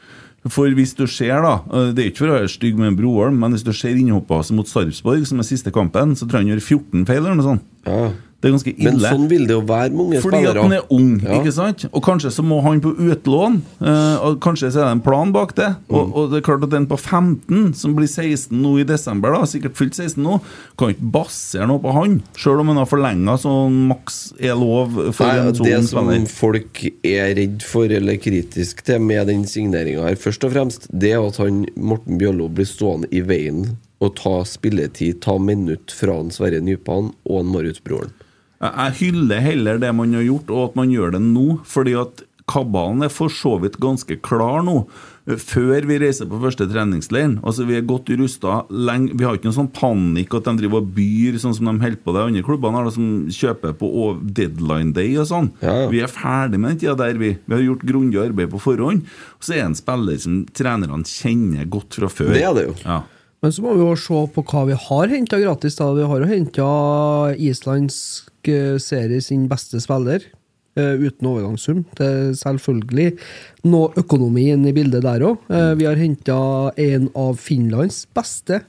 For hvis du ser, da eh, Det er ikke for å være stygg med Broholm, men hvis du ser innhoppet hans mot Sarpsborg, som er siste kampen, så tror jeg han gjør 14 feil eller noe sånt. Det er ganske ille. Men sånn vil det jo være med unge Fordi at spillere. han er ung, Ja. ikke sant? Og kanskje så må han på utlån. eh, og kanskje så er det en plan bak det. Mm. Og, og det er klart at den på 15, som blir 16 nå i desember, da sikkert fylt 16 nå, kan ikke basere noe på han. Sjøl om han har forlenga sånn maks er lov for Nei, en det sånn som spiller. folk er redd for eller kritisk til med den signeringa her, først og fremst, det er at han, Morten Bjørlo blir stående i veien og ta spilletid, ta minutt fra han Sverre Nypan og han Marius Broren. Jeg jeg hyller heller det man har gjort, og at man gjør det nå. Fordi at kabalen er for så vidt ganske klar nå, eh, før vi reiser på første treningsleiren. Altså, vi er godt rusta lenge. Vi har ikke noen sånn panikk at de driver og byr, sånn som de holder på de andre klubbene har, da, som kjøper på ov- deadline day og sånn. Vi er ferdig med den tida der, vi. Vi har gjort grundig arbeid på forhånd. Og så er det en spiller som trenerne kjenner godt fra før. Det er det jo. Ja. Men så må vi jo se på hva vi har henta gratis. da. Vi har jo henta islandsk eh, serie sin beste spiller, eh, uten overgangssum. Det er selvfølgelig noe økonomi inne i bildet der òg. Mm. Vi har henta en av Finlands beste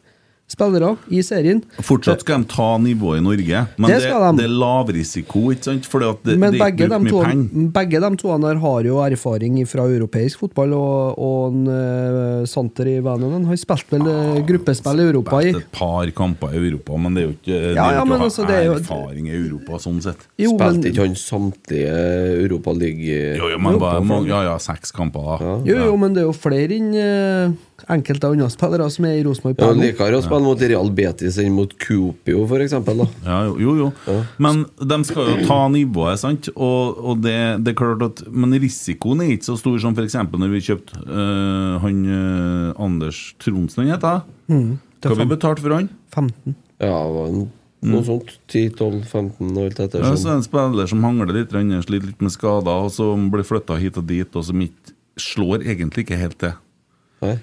spillere i serien. Fortsatt skal de ta nivået i Norge, men Det det, skal de. det er lavrisiko, ikke sant? Fordi at det, Men det er ikke begge de, brukt to, mye penger. begge de to der har jo erfaring fra europeisk fotball, og, og en, eh, Santer i Vananen har spilt vel eh, gruppespill i Europa i et par kamper i Europa, men det er jo ikke det er Ja, jo ja, ikke men å ha altså, det er jo- erfaring i Europa sånn sett. Jo, Spilte men- ikke han samtlige Europaliga Jo, jo, men Jo. bare mange, ja, ja, seks kamper, da. Jo, jo, men det er jo flere enn eh, enkelte andre spillere som er i Rosenborg. Ja, per nå. Likere å spille mot Real Betis enn mot Coopio, for eksempel, da. Ja, jo, jo, jo. Men de skal jo ta nivået, sant? Og, og det, det er klart at Men risikoen er ikke så stor som f.eks. når vi kjøpte øh, han øh, Anders Tronsen, han heter Mm, det er Hva vi fem- betalte for han? 15. Ja, det var en- noe sånt. 10-12-15 og alt sånn. etter. Ja, så er det en spiller som hangler litt, han sliter litt med skader, og som blir flytta hit og dit, og som ikke slår egentlig ikke helt til. Nei.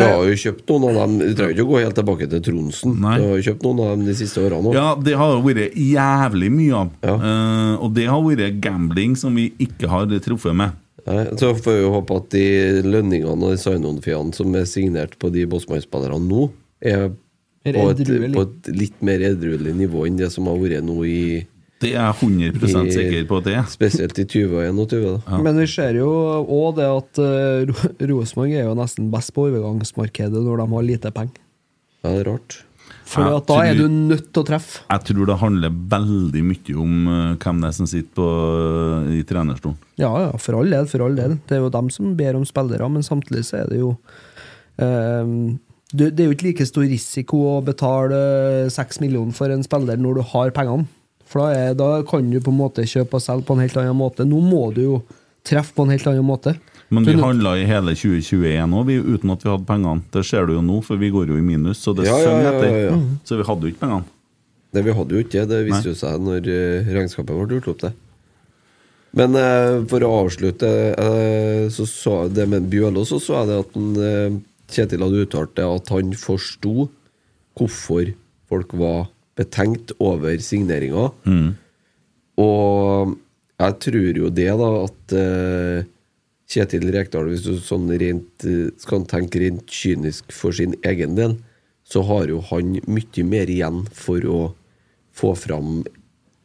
Vi har jo kjøpt noen av dem. Vi trenger ikke å gå helt tilbake til Tronsen. Vi har jo kjøpt noen av dem de siste årene også. Ja, det har jo vært jævlig mye av. Eh, og det har vært gambling som vi ikke har truffet med. Nei, så får vi jo håpe at de lønningene og de sign-on-fiene som er signert på de Bosman-spillerne nå, er Mer på et, edruelig. på et litt mer edruelig nivå enn det som har vært nå i Det er jeg 100 sikker på at det er. Spesielt i 20 og 21. Da. Men vi ser jo òg det at eh, Ro- Rosenborg er jo nesten best på overgangsmarkedet når de har lite penger. Ja, det er rart. For Jeg at da er tror- du nødt til å treffe. Jeg tror det handler veldig mye om eh, hvem det er som sitter på, eh, i trenerstolen. Ja, ja, for all del, for all del. Det er jo dem som ber om spillere, men samtidig så er det jo eh, det, det er jo ikke like stor risiko å betale seks millioner for en spiller når du har pengene. For da, er, da kan du på en måte kjøpe og selge på en helt annen måte. Nå må du jo treffe på en helt annen måte. Men Du vi er nødt- handla i hele 2021 òg, uten at vi hadde pengene. Det ser du jo nå, for vi går jo i minus, så det Ja, ja, søng ja, ja, etter. ja. Mhm. Så vi hadde jo ikke pengene. Nei, vi hadde jo ikke det. Det Nei. viste jo seg når eh, regnskapet ble gjort opp, det. Men eh, for å avslutte eh, så så jeg det med Bjølo, så så jeg det at han, eh, Kjetil hadde uttalt det at han forsto hvorfor folk var betenkt over signeringa. Mm. Og jeg tror jo det, da, at eh, Kjetil Rekdal, hvis du sånn rent, eh, skal tenke rent kynisk for sin egen del, så har jo han mye mer igjen for å få fram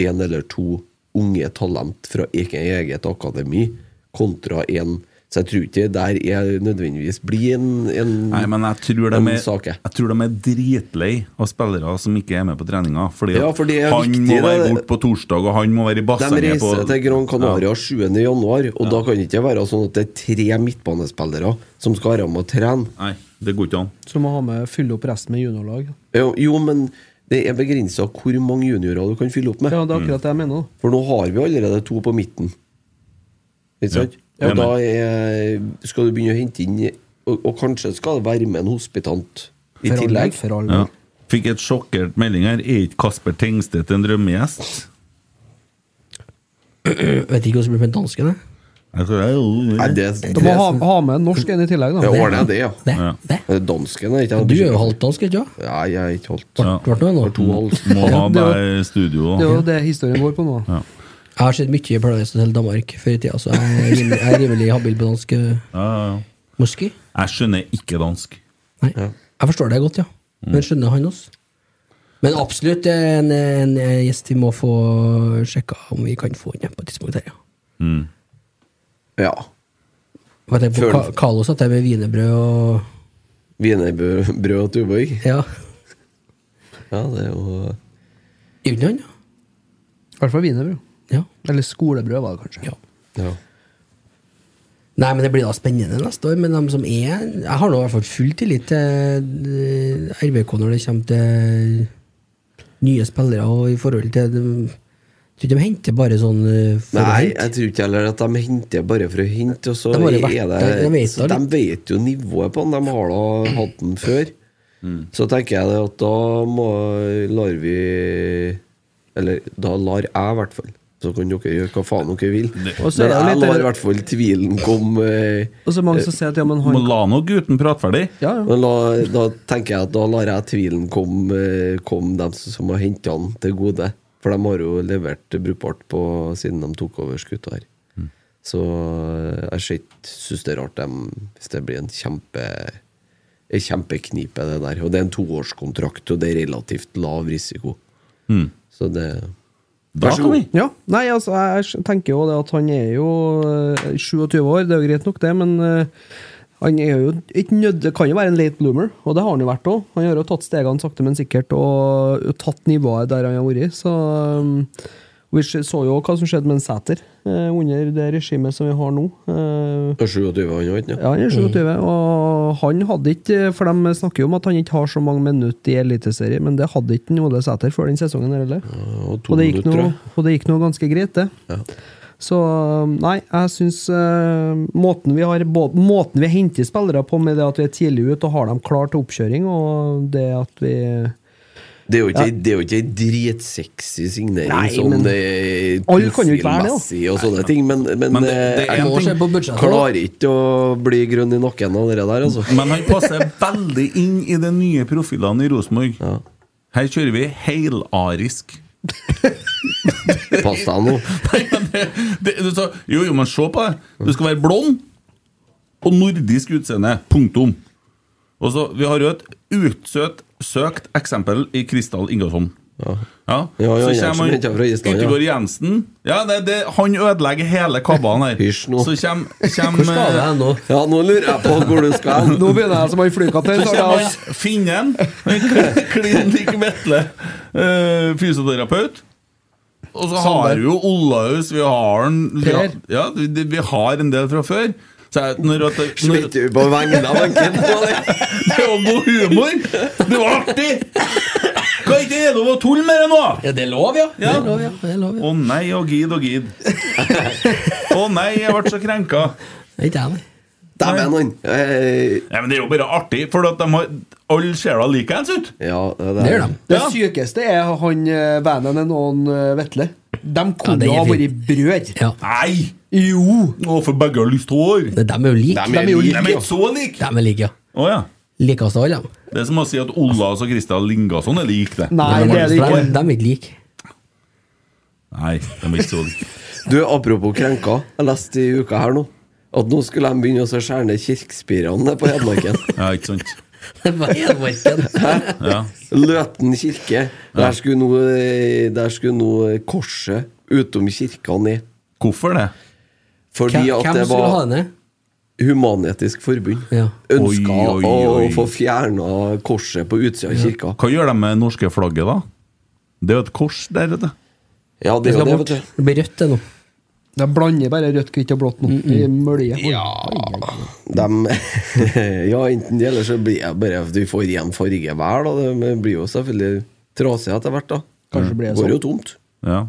en eller to unge talent fra ikke eget akademi, kontra en Så jeg tror ikke der er nødvendigvis blir en, en Nei, men jeg tror, de en er, sak, jeg tror de er dritlei av spillere som ikke er med på treninga. Fordi Ja, at for det er han viktig, må være det- borte på torsdag, og han må være i De bassenget på reiser til Gran Canaria 7. januar, og da kan det ikke være sånn at det er tre midtbanespillere som skal være med og trene. Nei, det går ikke an. Så må ha med fylle opp resten med juniorlag. Jo, jo men det er begrensa hvor mange juniorer du kan fylle opp med. Ja, det er akkurat det jeg mener. da. For nå har vi allerede to på midten. Ikke sant? Ja, og da er, skal du begynne å hente inn Og, og kanskje skal det være med en hospitant i For all del, tillegg. for all Ja. Fikk et sjokkert melding her. Er ikke Kasper Tengstedt en drømmegjest? Jeg vet ikke hva som blir med danskene. Jeg tror det er jo Nei, det, Du må ha, ha med en norsk en i tillegg, da. Ja, ordner jeg det, ja. Det. Dansken er ikke Du er jo halvdansk, ikke sant? Nei, jeg er ikke halvt. Ja. Ble det noe nå? Må ha det var- deg i studio. Det er jo det historien går på nå. Jeg har sett mye i Paradise Hotel Danmark før i tida, så jeg er rimelig, jeg er rimelig habil på dansk. Ja, ja, ja. Morski? Jeg skjønner ikke dansk. Nei. Jeg forstår det godt, ja. Mm. Men skjønner han oss? Men absolutt eh, en, en gjest vi må få sjekka om vi kan få inn på et tidspunkt her, ja. Mm. Ja. Hva er det på Føler- Ka- Carlos at det er med wienerbrød og Wienerbrød og tuborg. Ja. ja, det er jo Unland, ja. I hvert fall wienerbrød. Ja. Eller skolebrød, var det kanskje. Nei, men Det blir da spennende neste år. Men de som er Jeg har nå i hvert fall full tillit til eh, RBK når det kommer til nye spillere. Og i forhold til de, Jeg tror ikke de henter bare sånn eh, for å Nei, hente. jeg tror ikke heller at de henter bare for å hente. Og så De har jo vært er det, der, de vet så da de vet jo nivået på den. De har da hatt den før. Så tenker jeg det at da må, lar vi Eller da lar jeg, i hvert fall. Så kan dere gjøre hva faen dere vil. Og så er Men det jeg litt- lar i hvert fall tvilen komme. eh, Og så er mange som sier at ja, men Må han la nå gutten prate ferdig. Men la, da tenker jeg at da lar jeg tvilen komme, eh, komme dem som- som har henta han, til gode. For de har jo levert brukbart på siden de tok over skuta her. Mm. Så eh, jeg ser ikke- synes det er rart dem, hvis det blir en kjempe en kjempeknipe, det der. Og det er en toårskontrakt, og det er relativt lav risiko. Mm. Så det Da Vær så god. kan vi. Ja, nei, altså, jeg s- tenker jo det at han er jo eh, 27 år, det er jo greit nok det, men eh, han er jo ikke nødt, det kan jo være en late bloomer, og det har han jo vært òg. Han har jo tatt stegene sakte, men sikkert, og, og tatt nivået der han har vært. Så um, vi s- så jo hva som skjedde med en Sæter eh, under det regimet som vi har nå. Eh, Og 27 han jo, ikke sant? ja, han er 27, og han hadde ikke For de snakker jo om at han ikke har så mange minutter i Eliteserien, men det hadde ikke Ole Sæter før den sesongen her heller. og to Og det gikk minutter, noe, tror og det gikk noe ganske greit, det. Så um, nei, jeg syns um, måten vi har bå- Måten vi henter spillere på med det at vi er tidlig ute og har dem klar til oppkjøring, og det at vi Det er jo ikke, Ja. det er jo ikke en dritsexy signering Nei, som men- det er Alle kan jo ikke være det, da. profilmessig og sånne ting, men, men, Men det- eh, det er jeg en må ting- se på budsjettet, klarer ikke å bli grønn i nakken av det der, altså. Men han passer veldig inn i de nye profilene i Rosenborg. Her kjører vi helarisk. Pass deg nå. Det, du sa, jo, jo, men se på det. Du skal være blond og nordisk utseende. Punktum. Og så, Vi har jo et utsøkt søkt eksempel i Kristal Ingasson. Ja. Ja, ja, så Jensen kommer henter fra Island, ja. Yttergård Jensen. Ja, det, det, Han ødelegger hele kabalen her. Hysj nå. Så kommer, kommer Hvor skal jeg nå? Ja, nå lurer jeg på hvor du skal hen. Nå begynner jeg som han flykaptein. Så kommer han finnen, klin lik Vetle, eh, fysioterapeut. Og så har Sander. vi jo Olaus, vi har en, vi har, ja, vi, det- vi har en del fra før. Så jeg, når, at, når, Smitter du på vegne av en kid på det? det var god humor! Det var artig! Kan ikke det lov å tulle med det nå? Ja, det er lov, ja! Ja. Det er lov, ja. Det er lov, ja. Å nei og gid og gid. Å nei, jeg ble så krenka. Det er ikke jeg, nei. Dæven, han! Eh, Nei, men Det er jo bare artig, for at de har, alle ser da likeens ut. Ja, Det gjør de. Det Ja. sykeste er han eh, Vananen og han eh, Vetle. De Ja, det kunne er jo ha vært fint. brød. Ja. Nei! Jo! Å, for begge har lyst hår. Men De er jo like. De er jo De er ikke så like. De er like, ja. Å ja. Likeste av alle, de. Det er som å si at Ollas og Kristian Lingasson er lik sånn, det. Nei, Men det er det ikke. for De de er ikke like. Nei, de er ikke så like. Du, apropos krenka. Jeg leste i uka her nå at nå skulle de begynne å så skjære ned kirkespirene på Hedmarken. Ja, ikke sant? Det var Hedmarken. Ja. Løten kirke. Der skulle nå, eh, der skulle nå korset utom kirka ned. Hvorfor det? Fordi Hvem at hvem det skulle ha var den ned? Human-Etisk Forbund Ja. ønska Oi, oi, å oi. få fjerna korset på utsida av kirka. Hva gjør de med det norske flagget, da? Det er jo et kors der, vet du. Ja, det er jo skal det, bort. vet du. Det blir rødt, det nå. Mm, De blander bare rødt, hvitt og blått nå, i mølje. Dem- ja, enten det, eller så blir jeg bare Vi får én farge hver, da. Det men blir jo selvfølgelig trasig etter hvert, da. Kanskje blir det Går jo sånn. tomt. Ja.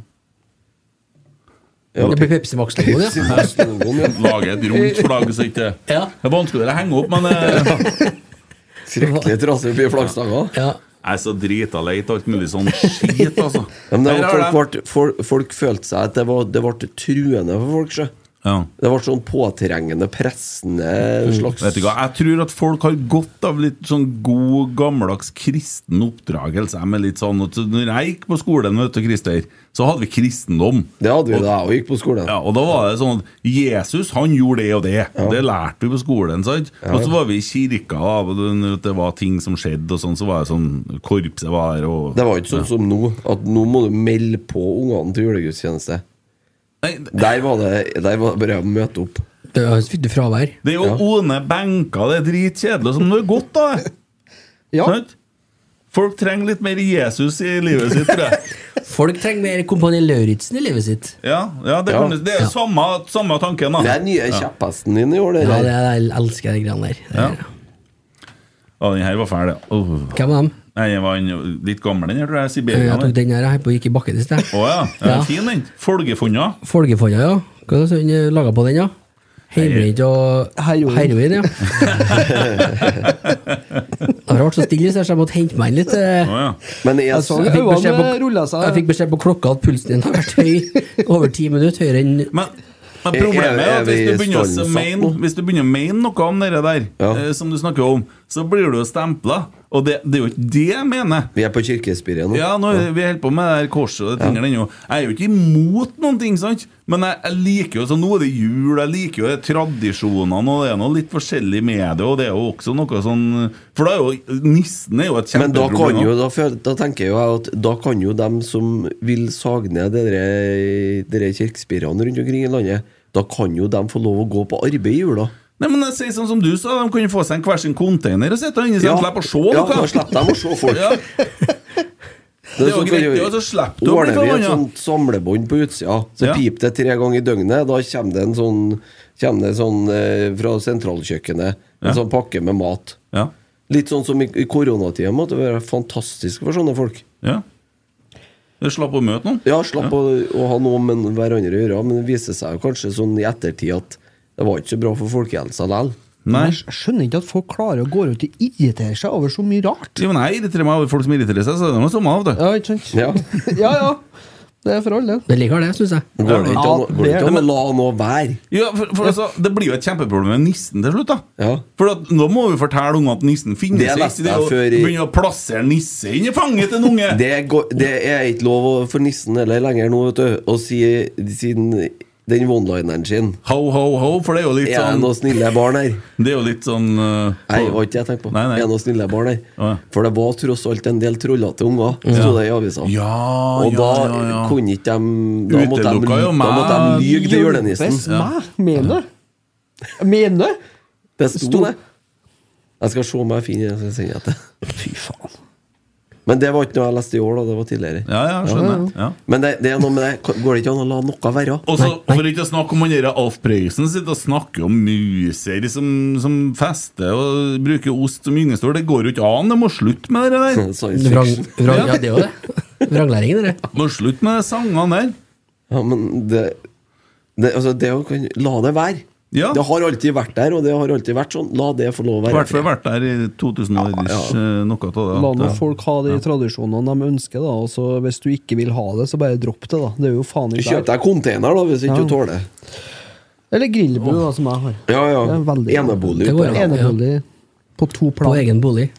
Ja. Det blir Pepsi Max-logoen, ja. Logoen, ja. Lage et rundt flagg, så ikke Ja. Det er vanskeligere å henge opp, men eh, Skrekkelig trasig på flaggstanga. ja. Jeg er så drita leit alt mulig sånn skit, altså. Ja, men det Her var, har folk, ble, folk, folk følte seg at det, var, det ble truende for folk. sjø. Ja. Det ble sånn påtrengende, pressende slags Vet du hva, Jeg tror at folk har godt av litt sånn god, gammeldags kristen oppdragelse. Jeg er litt sånn, at når jeg gikk på skolen, vet du, Christer, så hadde vi kristendom. Det hadde vi og, da jeg gikk på skolen. Ja, og da var det sånn at Jesus han gjorde det og det. Det lærte vi på skolen. sant? Og så var vi i kirka, da, og det- det var ting som skjedde, og sånn, så var det sånn Korpset var her, og Det var ikke sånn Ja. som nå, at nå må du melde på ungene til julegudstjeneste. Der var det Der var det bare å møte opp. Det er jo fikk du fravær. Det er jo one benker, det er dritkjedelig. Som det er godt, da. Sant? Folk trenger litt mer Jesus i livet sitt, tror jeg. Folk trenger mer Kompani Lauritzen i livet sitt. Ja, ja, det, Kan, du- det er Ja. samme, samme tanken, da. Det er nye ja. kjapphesten din i år, det Ja, det der. er, jeg elsker de greiene der. Ja. ja, den her var fæl, ja. Åh. Hvem var dem? Nei, den var en- litt gammel, den her, tror jeg. Siberia. Jeg tok den. den her jeg holdt på å gikk i bakken i sted. Å ja. Den er fin, den. Folgefunna. Folgefonda, ja. Hva er det hun laga på den, da? Hjemmebrent og heroin. ja. Det har vært så stille, så jeg kommer til å hente meg inn litt. eh. altså, Men jeg, sånn Jeg fikk beskjed på- jeg fikk beskjed på klokka at pulsen din har vært høy over ti minutter. Høyere enn Men problemet er Er- er at hvis vi du begynner å stanset mene, hvis du begynner å mene noe om det der, eh, som du snakker om, så blir du stempla. Og det, det er jo ikke det jeg mener. Vi er på kirkespiret nå. Ja, nå er, vi holder på med det her korset og de tingene ennå. Jeg er jo ikke imot noen ting, sant? Men jeg, jeg liker jo så Nå er det jul, jeg liker jo det tradisjonene, og det er noe litt forskjellig med det, og det er jo også noe sånn For da er jo nissen er jo et Men da, kjempeproblem. kan jo, da, føl- da tenker jo jeg at da kan jo dem som vil sage ned de der- de der kirkespirene rundt omkring i landet, da kan jo dem få lov å gå på arbeid i jula. Nei, men jeg sier sånn som du sa, de kan jo få seg en hver sin container og sitte inni seg Ja. og slippe å se Ja, noe. da slipper de å se folk. Ja. Det er jo sånn greit, kan det, og så slipper du å bli Ordner vi et forbanna. sånt samlebånd på utsida, så Ja. piper det tre ganger i døgnet. Da kommer det en sånn, kommer det sånn eh, fra sentralkjøkkenet, en Ja. sånn pakke med mat. Ja. Litt sånn som i, i koronatida måtte være fantastisk for sånne folk. Ja. Du slapp å møte noen? Ja, slapp Å, å ha noe med hverandre å gjøre, men det viser seg jo kanskje sånn i ettertid at det var ikke så bra for folkehelsa likevel. Nei. Jeg skjønner ikke at folk klarer å gå rundt og irritere seg over så mye rart. Jo, men jeg irriterer meg over folk som irriterer seg, så det er noe samme av det. Ja, ikke sant? Ja, ja. Det er for alle. Det liker det, syns jeg. Går det ikke an- går det ikke an å la noe være? Ja, for, for altså, Det blir jo et kjempeproblem med nissen til slutt. da For at, Nå må vi fortelle ungene at nissen finnes Det leste Det er jeg å før i- begynne å plassere nisse inn i fanget til en unge! Det, går, det er ikke lov å- for nissen eller lenger nå, vet du, å si siden den one-lineren sin. Ho, ho, ho, for det er jo litt Er det sånn noen snille barn her? Det er jo litt sånn uh, Nei, det var ikke det jeg tenkte på. Er det noen snille barn her? For det var tross alt en del trollete unger, Ja. sto det i avisa. Ja, ja, og da ja, ja. kunne ikke de Da måtte de, Utelukka jo da måtte de meg. lyge til julenissen. Hjelpes meg, Ah, mener du? Mener du? Det sto Sto- det. Jeg skal se om jeg finner det. så skal jeg sende det. Fy faen. Men det var ikke noe jeg leste i år, da. Det var tidligere. Ja, ja, skjønner. Ja. Men det, det er noe med det. Går det ikke an å la noe være? Og så, for ikke å snakke om han der Alf Prøysen sitter og snakker om muser som, som fester og bruker ost som gyngestol. Det går jo ikke an. Det må slutte med det Mm. der. Vrang, vrang, ja, det er jo det. Vranglæringen, det. Må slutte med de sangene der. Ja, men det, det, altså, det å kunne La det være. Ja. Det har alltid vært der, og det har alltid vært sånn. La det få lov å I være. hvert fall vært der i 2000 og Ja, ellers, ja. eh, noe av det. La nå Ja. folk ha de tradisjonene de ønsker, da. Og så hvis du ikke vil ha det, så bare dropp det, da. Det er jo faen ikke Kjøp deg container, da, hvis ikke Ja. du tåler det. Eller grillbu, da, som jeg har. Ja, ja. Det er veldig- Enebolig. Det går an, Ja. Enebolig på to plan. På egen bolig.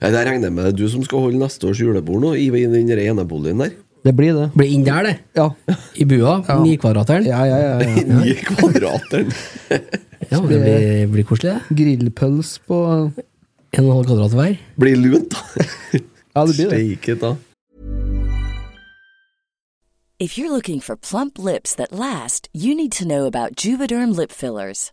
Ja, det regner jeg med det er du som skal holde neste års julebord nå, i den der eneboligen der. Det blir det. Blir inn der, det. Ja. I bua. Ja. Nikvadrateren. Ja, ja, ja, ja. Ni kvadrater. Ja, det blir, blir koselig, det. Grillpøls på En og en halv kvadrat hver. Blir lunt, da. Ja, det blir det. Steike ta. If you're looking for plump lips that last, you need to know about Juvederm lip fillers.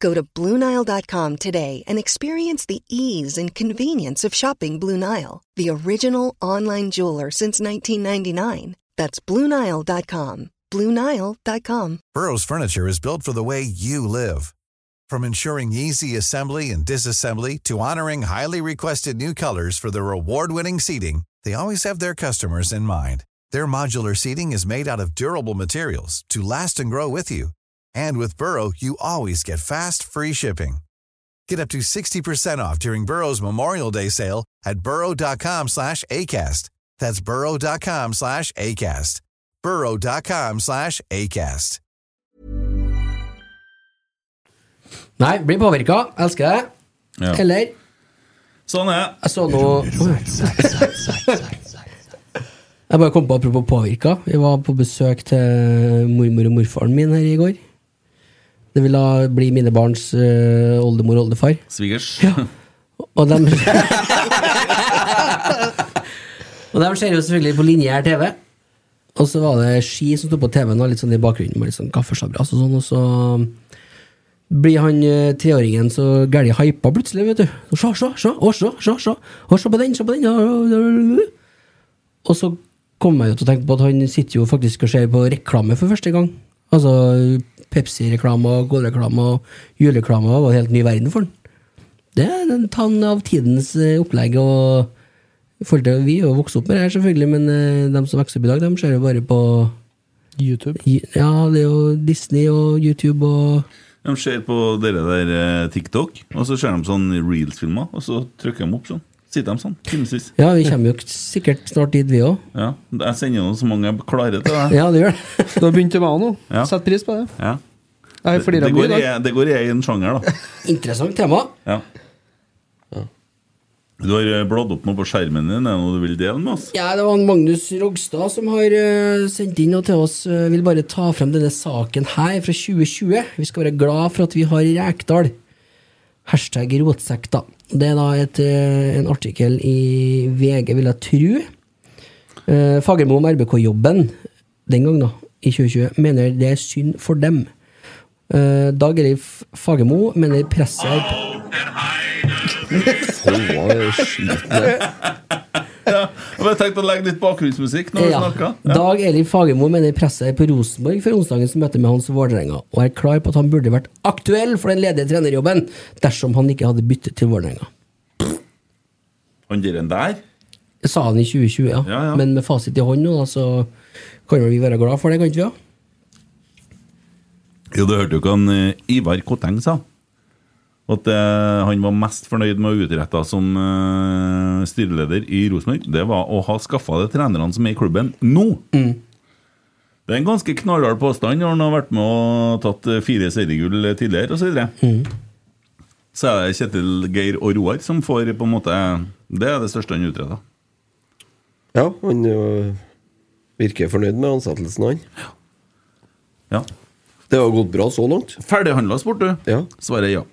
Go to BlueNile.com today and experience the ease and convenience of shopping Blue Nile, the original online jeweler since 1999. That's BlueNile.com. BlueNile.com. Burrow's furniture is built for the way you live. From ensuring easy assembly and disassembly to honoring highly requested new colors for their award-winning seating, they always have their customers in mind. Their modular seating is made out of durable materials to last and grow with you. And with Burrow, you always get fast, free shipping. Get up to 60% off during Burrow's Memorial Day sale at burrow.com slash ACAST. That's burrow.com slash ACAST. burrow.com slash ACAST. Nei, blir påvirka. Elsker det. Ja. Eller Sånn er Jeg så noe Jeg bare kom på apropos påvirka. Vi var på besøk til mormor og morfaren min her i går. Det ville bli mine barns eh, oldemor og oldefar. Svigers. Og de Og de ser jo selvfølgelig på linjær TV. Og så var det ski som sto på TV-en, og litt sånn i bakgrunnen med litt sånn kaffesabras og sånn, og så blir han eh, treåringen så gæli hypa plutselig, vet du. Så, Se, se, se, å, se, se, se, å, se på den, se på den. å, å, å, å. Og så kom jeg jo til å tenke på at han sitter jo faktisk og ser på reklame for første gang. Altså Pepsi-reklame og Cola-reklame og julereklame var en helt ny verden for han. Det er en tann av tidens eh, opplegg. og i forhold til, Vi er jo vokst opp med det her, selvfølgelig, men eh, de som vokser opp i dag, de ser jo bare på YouTube? Ja, det er jo Disney og YouTube og De ser på dere der eh, TikTok, og så ser de sånn reels-filmer, og så trykker de opp sånn. Sitter de sånn, timevis. Ja, vi kommer jo k- sikkert snart dit, vi òg. Ja. Jeg sender jo så mange jeg klarer til deg. Ja, det gjør det. Du har begynt med meg nå. Ja. Sett pris på det. Ja. Jeg Det, flirer det mye i går i, dag. det går i en sjanger, da. Interessant tema. Ja. Du har eh, bladd opp noe på skjermen din, er det noe du vil dele med oss? Ja, det var en Magnus Rogstad som har eh, sendt inn og til oss. eh, vil bare ta frem denne saken her fra 2020. Vi skal være glad for at vi har Rekdal. Hashtag rotsekk, da. Det er da et, eh, en artikkel i VG, vil jeg tru. Eh, Fagermo om RBK-jobben den gang, da, i 2020, mener det er synd for dem. Eh, Dag Elif Fagermo mener presset er Ja, og jeg tenkte å legge litt bakgrunnsmusikk når vi Ja. snakker. Dag Elif Fagermo mener presset er på Rosenborg for onsdagens møte med Hans Vålerenga, og er klar på at han burde vært aktuell for den ledige trenerjobben dersom han ikke hadde byttet til Vålerenga. Han der en der? Det sa han i 2020, ja. Men med fasit i hånd nå, da, så kan vel vi være glad for det, kan ikke vi? Ja? Jo, du hørte jo hva han, eh, Ivar Koteng sa. At eh, han var mest fornøyd med å utrette som eh, styreleder i Rosenborg, det var å ha skaffa de trenerne som er i klubben nå. Det er en ganske knallhard påstand når han har vært med og tatt eh, fire seriegull tidligere osv. Så er det Kjetil, Geir og Roar som får på en måte Det er det største han utretta. Ja, han ø, virker fornøyd med ansettelsen, han. Ja. Det har gått bra så langt. Ferdighandla sport, du. Ja. Svaret er ja.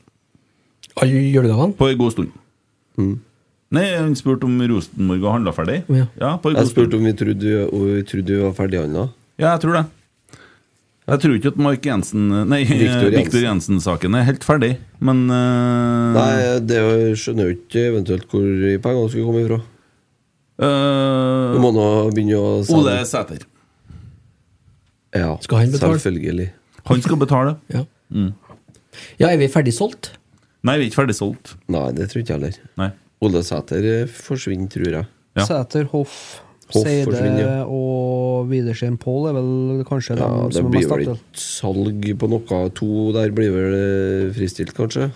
Alle julegavene? På en god stund. mm. Nei, han spurte om Rosenborg har handla ferdig. Ja. på en Jeg god stund. spurte om vi trodde, om vi trodde vi var ferdighandla. Ja, jeg tror det. Jeg tror ikke at Mark Jensen Nei, Victor Jensen. Viktor Jensen-saken er helt ferdig, men eh, Nei, det skjønner jo ikke eventuelt hvor pengene skulle komme ifra. eh, Du må nå begynne å Ole Sæter. Ja, Skal han betale? selvfølgelig. Han skal betale. Ja. Mm. Ja, er vi ferdig solgt? Nei, vi er ikke ferdig solgt. Nei, det tror jeg ikke heller. Nei. Ole Sæter eh, forsvinner, tror jeg. Sæter Hoff. Hoff forsvinner, Seide ja. og Widersen Pål er vel kanskje Ja, dem det som er blir mest vel aktuelle. ikke salg på noe to der, blir vel eh, fristilt, kanskje?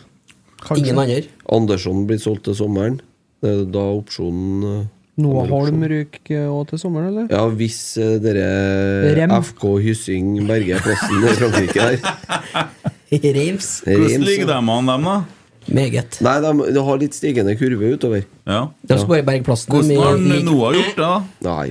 Kanskje. Ingen andre. Andersson blir solgt til sommeren. Det er da opsjonen eh, Noah kommer opp. Holm ryker òg til sommeren, eller? Ja, hvis eh, dere Rem. FK Hyssing berger plassen i Frankrike der. Reims. Hvordan ligger de an, dem, da? Meget. Nei, de, de har litt stigende kurve utover. Ja. De skal bare berge plassen. Hvordan har med- han- Noah gjort det, da? Nei.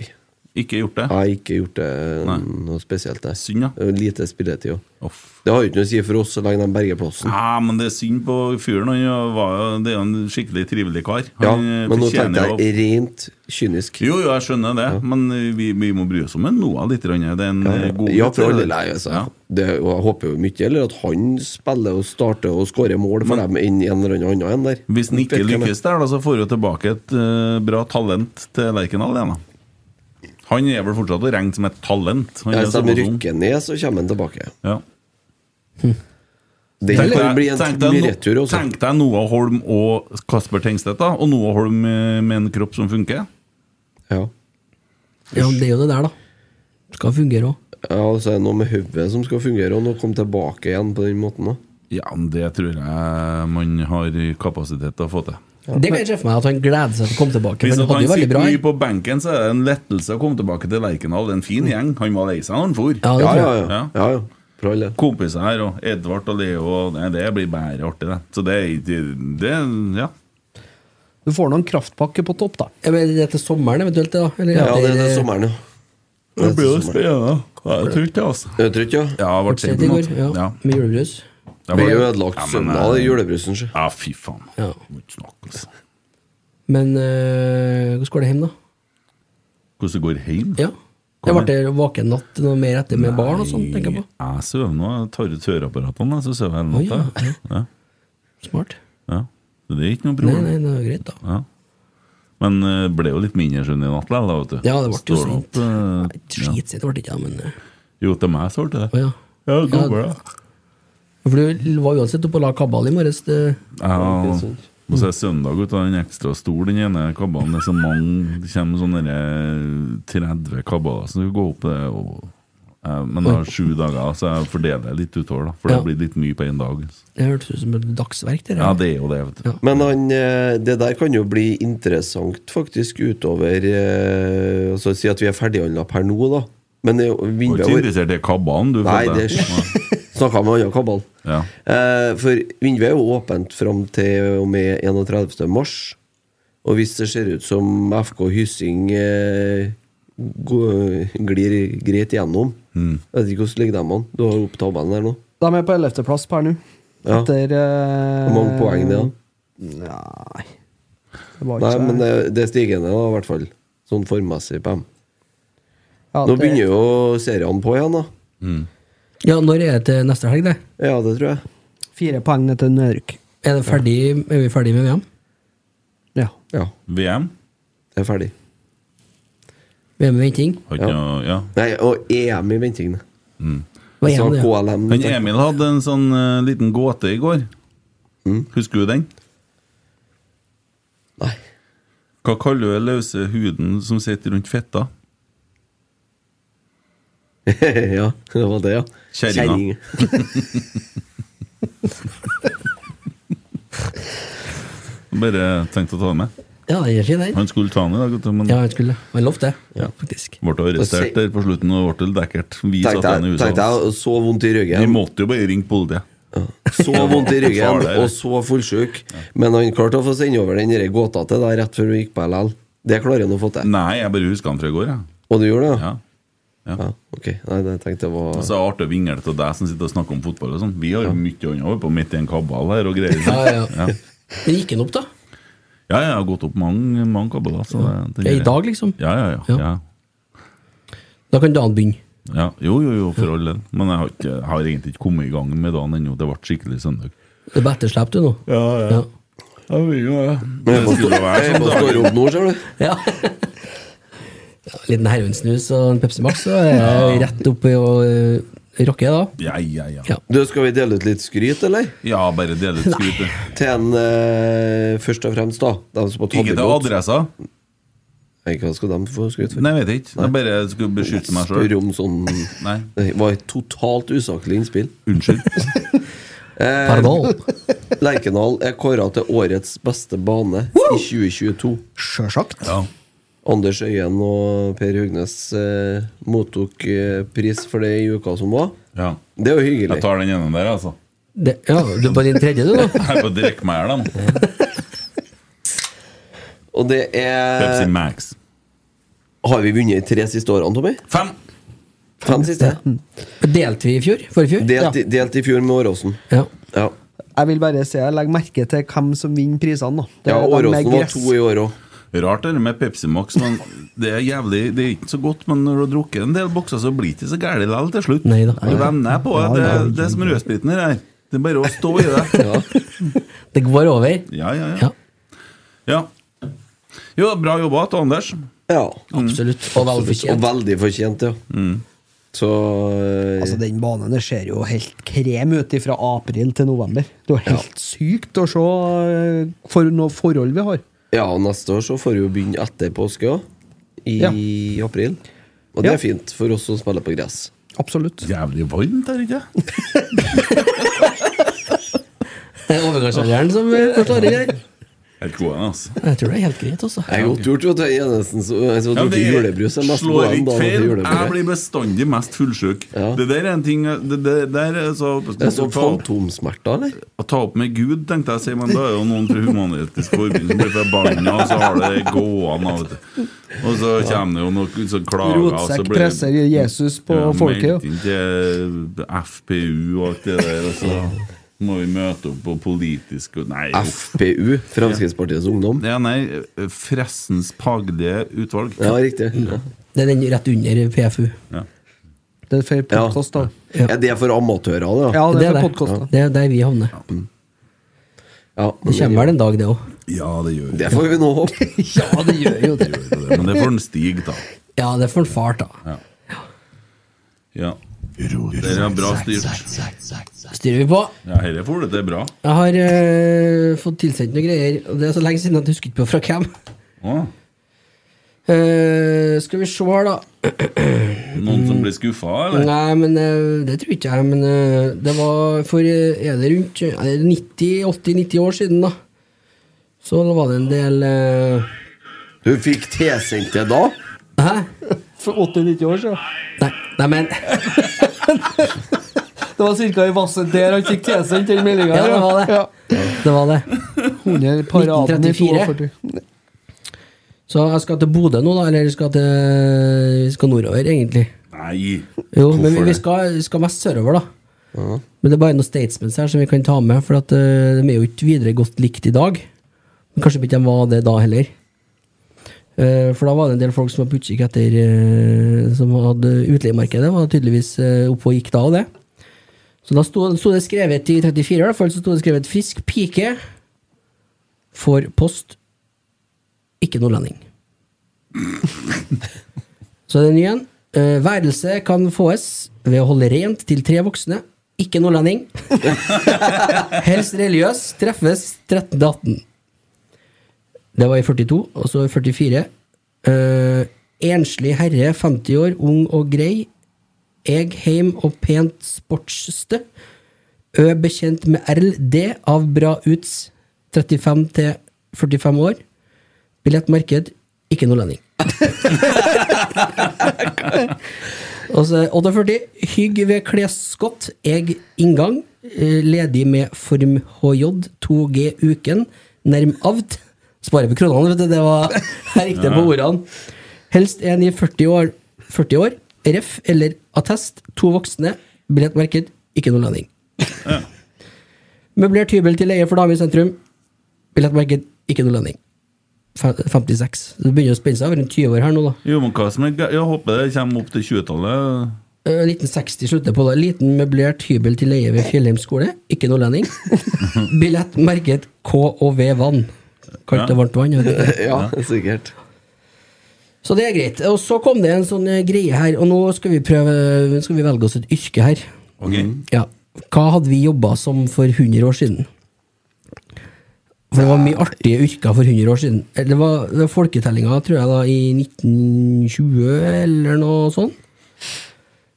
Ikke gjort det? Nei, ikke gjort det eh, noe spesielt. Det. Synd, ja. Lite spilletid òg. Det har jo ikke noe å si for oss så lenge de berger plassen. Ja, men det er synd på fyren. Han var jo, det er jo en skikkelig trivelig kar. Han Ja, eh, men nå fortjener tenkte jeg jo- rent kynisk. Jo, jo, jeg skjønner det, men vi, vi må bry oss om en Noah litt. grann. Det er en eh, god Ja, gutt, for alle eller? nei, altså. Det, og jeg håper jo mye eller at han spiller og starter og skårer mål for dem enn en eller annen enn der. Hvis han ikke Vet hvem det- lykkes der, da, så får vi tilbake et eh, bra talent til Lerkendal igjen. da. Han er vel fortsatt å regne som et talent. Han Ja, er Hvis de såpass ung. rykker ned, så kommer han tilbake. Ja. Det Tenk kan deg- bli en tenk deg mye no- retur også. Tenk deg Noah Holm og Kasper Tengstedt, da. Og Noah Holm eh, med en kropp som funker. Ja. Ja, men det er jo det der, da. Skal fungere òg. Ja, og så er det noe med hodet som skal fungere, og nå komme tilbake igjen på den måten. da Ja, men det tror jeg man har kapasitet til å få til. Det kan jeg se for meg, at han gleder seg til å komme tilbake. Hvis For at han hadde han jo veldig sitter bra mye på benken, så er det en lettelse å komme tilbake til Lerkendal. En fin gjeng. Han var lei seg når han for. Mm. Ja, det Ja, tror ja, jeg. Kompiser her, og Edvard og Leo og- Nei, det blir bare artig, det. Så det, er- det, det Ja. Du får nå en kraftpakke på topp, da. Ja, men det er til sommeren eventuelt, det, da? Eller Ja, det er etter- det sommeren, ja. Det blir jo spennende. Jeg tror ikke det, altså. Jeg tror ikke, ja. Ja, ble Fortsett sent i på går, natt. ja. Ja. Med julebrus. Det Blir var- jo ødelagt Ja, men, søndag, det er eh, julebrusen, sjø. Ja, fy faen. Ja. Må ikke snakke, altså. Men øh, hvordan går det hjem, da? Hvordan det går hjem? Ja. Jeg ble vaken natt noe mer etter med barn og sånn, tenker jeg på. Jeg sover nå. Jeg tar ut høreapparatene, så sover jeg hele Å, natta. ja, Ja. Smart. Ja. Så det er ikke noe Nei, problem. nei, det er greit, da. Ja. Men eh, ble jo litt mindre søvn i natt likevel, da, vet du. Ja, det ble jo Står sent. opp, eh, Skitsent ble det ikke, da, men øh, Jo, til meg så ble det det. ja. Ja, det går bra. For du var uansett oppe og la kabal i morges. det- Ja, og så er søndag ut av den ekstra stor, den ene kabalen. Det er så mange, det kommer sånne der eh, 30 kabaler som skal gå opp det. Og, eh, men jeg har sju dager, så jeg fordeler det litt utover, da. For Ja. det blir litt mye på én dag. Det hørtes ut som et dagsverk, det der. Ja, det er jo det, vet du. Men han, eh, det der kan jo bli interessant faktisk utover eh, altså Si at vi er ferdighandla per nå, da. Men det er Du jo- er vinduet ikke vårt interessert i kabalen, du? Nei, føler det jeg. snakka med annen kabal. Ja. Eh, for vinduet er jo åpent fram til og med 31. mars. Og hvis det ser ut som FK Hyssing eh, gå- glir greit gjennom Mm. Jeg vet ikke hvordan ligger de an? Du har jo opp tabellen der nå. De er på 11. plass per nå. Ja. Etter eh, Hvor mange poeng det er? Nei Det var ikke Nei, så- men det, det Eh, er stigende, da, i hvert fall. Sånn formmessig på dem. Ja, Nå det- begynner jo seriene på igjen, da. Ja, når er det til neste helg, det? Ja, det tror jeg. Fire poeng ned til nedrykk. Er, det ferdig, er vi ferdig med VM? Ja. Ja. VM? Det er ferdig. VM med venting? Har ikke noe- ja. Nei, og EM i ventingen. Hva er Jeg sa det, ja? KLM. Han Emil hadde en sånn eh, liten gåte i går. Mm. Husker du den? Nei. Hva kaller du den løse huden som sitter rundt fetta? ja, det var det, ja. Kjerringa. Bare tenkte å ta den med. Ja, det er ikke den. Han skulle ta den i dag, vet du, men Ja, han skulle. Han lovte det, faktisk. ble arrestert der på slutten og ble litt dekkert. Vi Tenkte satt igjen i jeg- USA. tenkte jeg, så vondt i ryggen. Vi måtte jo bare ringe politiet. Så vondt i ryggen Farlig, det. og så fullsjuk. Men han klarte å få sende over den der gåta til deg rett før du gikk på LL. Det klarer han å få til. Nei, jeg bare husker han fra i går, jeg. Og du gjorde det? Ja. Altså, Ja. ok. Nei, det tenkte jeg var Og så er det artig å vingle til deg som sitter og snakker om fotball og sånn. Vi har jo mye annet over på midt i en kabal her og greier. Ja, ja. Men gikk han opp, da? Ja, jeg har gått opp mange, mange kabaler. Så det, det Ja, i gjør jeg. dag, liksom? Ja, ja, ja. ja. Da kan dagen begynne. ja. Jo, jo, jo, for all del. Men jeg har, ikke, jeg har egentlig ikke kommet i gang med dagen ennå. Det ble skikkelig søndag. Det er på etterslep, du, nå. Ja, ja. Jeg vil jo sånn det. Men jeg må stå- jeg må stå opp nå, ser du. Ja. Ja, en liten heroinsnus og en Pepsi Max, så er jeg rett oppi og uh, rocker, jeg, da. Ja, ja, ja. Du, skal vi dele ut litt skryt, eller? Ja, bare dele ut skryt. du. Til en eh, først og fremst, da. De som har tatt Ikke til imot. adressa. Nei, Hva skal de få skryt for? Nei, jeg vet ikke. Jeg bare skulle beskytte meg Spør sjøl. om sånn Nei. Det var et totalt usaklig innspill. Unnskyld. Pardon. Lerkendal er kåra til årets beste bane i 2022. Sjølsagt. Anders Øyen og Per Hugnes eh, mottok eh, pris for det i uka som var. Det er jo hyggelig. Jeg tar den ene der, altså. Det, ja, du er på din tredje, du, da? Jeg får drikke meg i hjel, da. Og det er Pepsi Max. Har vi vunnet i tre siste årene, Tommy? Fem. Fem siste? Delte vi i fjor? Forrige fjor? Delt, i- delt i fjor med Åråsen. Ja. Ja. Jeg vil bare si jeg legger merke til hvem som vinner prisene. da. Det Ja, er de Åråsen med var gress. to i år òg. Rart det der med Pepsi Max. Men det er jævlig Det er ikke så godt, men når du har drukket en del bokser, så blir det ikke så gærent likevel til slutt. Nei da. Du venner på Ja, det. ja, ja. Det er som rødspriten her. her. Det er bare å stå i det. Det går over. Ja, ja, ja. ja. Jo, bra jobba til Anders. Ja. Absolutt. Og Og veldig fortjent, ja. Mm. Så eh, Altså, Den banen der ser jo helt krem ut fra april til november. Det er jo helt sykt å se eh, for noe forhold vi har. Ja, og neste år så får vi jo begynne etter påske også, I april. Og det Ja. er fint for oss som spiller på gress. Absolutt. Jævlig varmt, er det ikke? Det er overgangsalderen som eh, forstår det der. Helt god en, altså. Jeg tror det er helt greit, altså. Det er godt gjort, vet du. Enesen som en som har Ja, drukket det julebrus, er mest slår gåen da ikke han feil. til Jeg julebrus. blir bestandig mest fullsjuk. Det der er en ting Det, det der er så Det er sånn fantomsmerter, eller? Å ta opp med Gud, tenkte jeg å si, men da er jo noen fra Human-Etisk Forbund som blir forbanna, og så har det gående av det. Og så kommer det jo noen som klager, og så Rotsekk blir det presser Jesus på ja, folket. meldt inn til FPU og alt det der, og så må vi møte opp på politisk og- Nei. FPU, Fremskrittspartiets Ungdom? Ja, nei, Fressens Paglige Utvalg. Ja, riktig. Mm. Ja. Det er den rett under PFU. Det er for podkast, da. Ja. det er for amatører, det. Ja, det er for det. podkast. Det er der vi havner. Ja, Det kommer vel en dag, det òg. Ja, det gjør Det får vi nå håpe. ja, det gjør jo det. Men det får en stig, da. Ja, det får en fart, da. Ja. Det er bra styrt. Styrer vi på. Ja, dette får du til bra. Jeg har eh, fått tilsendt noen greier, og det er så lenge siden at jeg husker ikke på fra hvem. Å, Eh, skal vi se her, da. noen som blir skuffa, eller? Nei, men eh, det tror ikke jeg. Men eh, det var for eh, Er det rundt eh, er det 90, 80-90 år siden, da? Så da var det en del eh, Du fikk tilsendt det da? Hæ? For 80-90 år siden. Nei, nei, men Det var ca. i vasset der han fikk tilsendt den meldinga. Ja, det var det. Det var det. 100 paraden i 1934. 42. Så jeg skal til Bodø nå, da. Eller jeg skal til, vi skal nordover, egentlig. Nei. Jo, men vi, Hvorfor vi det? skal, vi skal mest sørover, da. Men det er bare noen statements her som vi kan ta med, for at, eh, de er jo ikke videre godt likt i dag. Men kanskje ikke de var det da heller. Eh, for da var det en del folk som var på utkikk etter eh, Som hadde utleiemarkedet, var tydeligvis eh, oppe og gikk da og det. Så da sto, sto det skrevet i 34, i hvert fall, så sto det skrevet 'Frisk pike for post, ikke nordlending'. Så det er en ny en. Eh, værelse kan fås ved å holde rent til tre voksne. Ikke nordlending. Helst religiøs. Treffes 13.18. Det var i 42, og så i 44. Eh, enslig herre, 50 år, ung og grei. Eg heim og pent sportsstø. Ø bekjent med RLD av bra uts, 35 til 45 år. Billettmarked, ikke nordlending. Og så 48. Hygg ved klesskott. Eg inngang. Eh, Ledig med form HJ 2G uken. Nærm avt. Sparer på kronene, vet du. Det var her gikk det på ordene. Helst en i 40 år. 40 år. Ref eller attest. To voksne. Billettmerket. Ikke noe lønning. Møblert hybel til leie for dame i sentrum. Billettmerket. Ikke noe lønning. Fe- 56. Så Det begynner å spenne seg over en 20 år her nå, da. Jo, men hva som er gæ- Jeg håper det kommer opp til 20-tallet. Eh, 1960 slutter på det. Liten møblert hybel til leie ved Fjellheim skole. Ikke nordlending. Billett merket K og V vann. Kaldt og varmt vann. vet du. Ja, sikkert. Så det er greit. Og så kom det en sånn eh, greie her, og nå skal vi prøve nå skal vi velge oss et yrke her. Ok. Mm. Ja. Hva hadde vi jobba som for 100 år siden? For det var mye artige yrker for 100 år siden. Eller Det var, det var folketellinga, tror jeg, da, i 1920 eller noe sånt.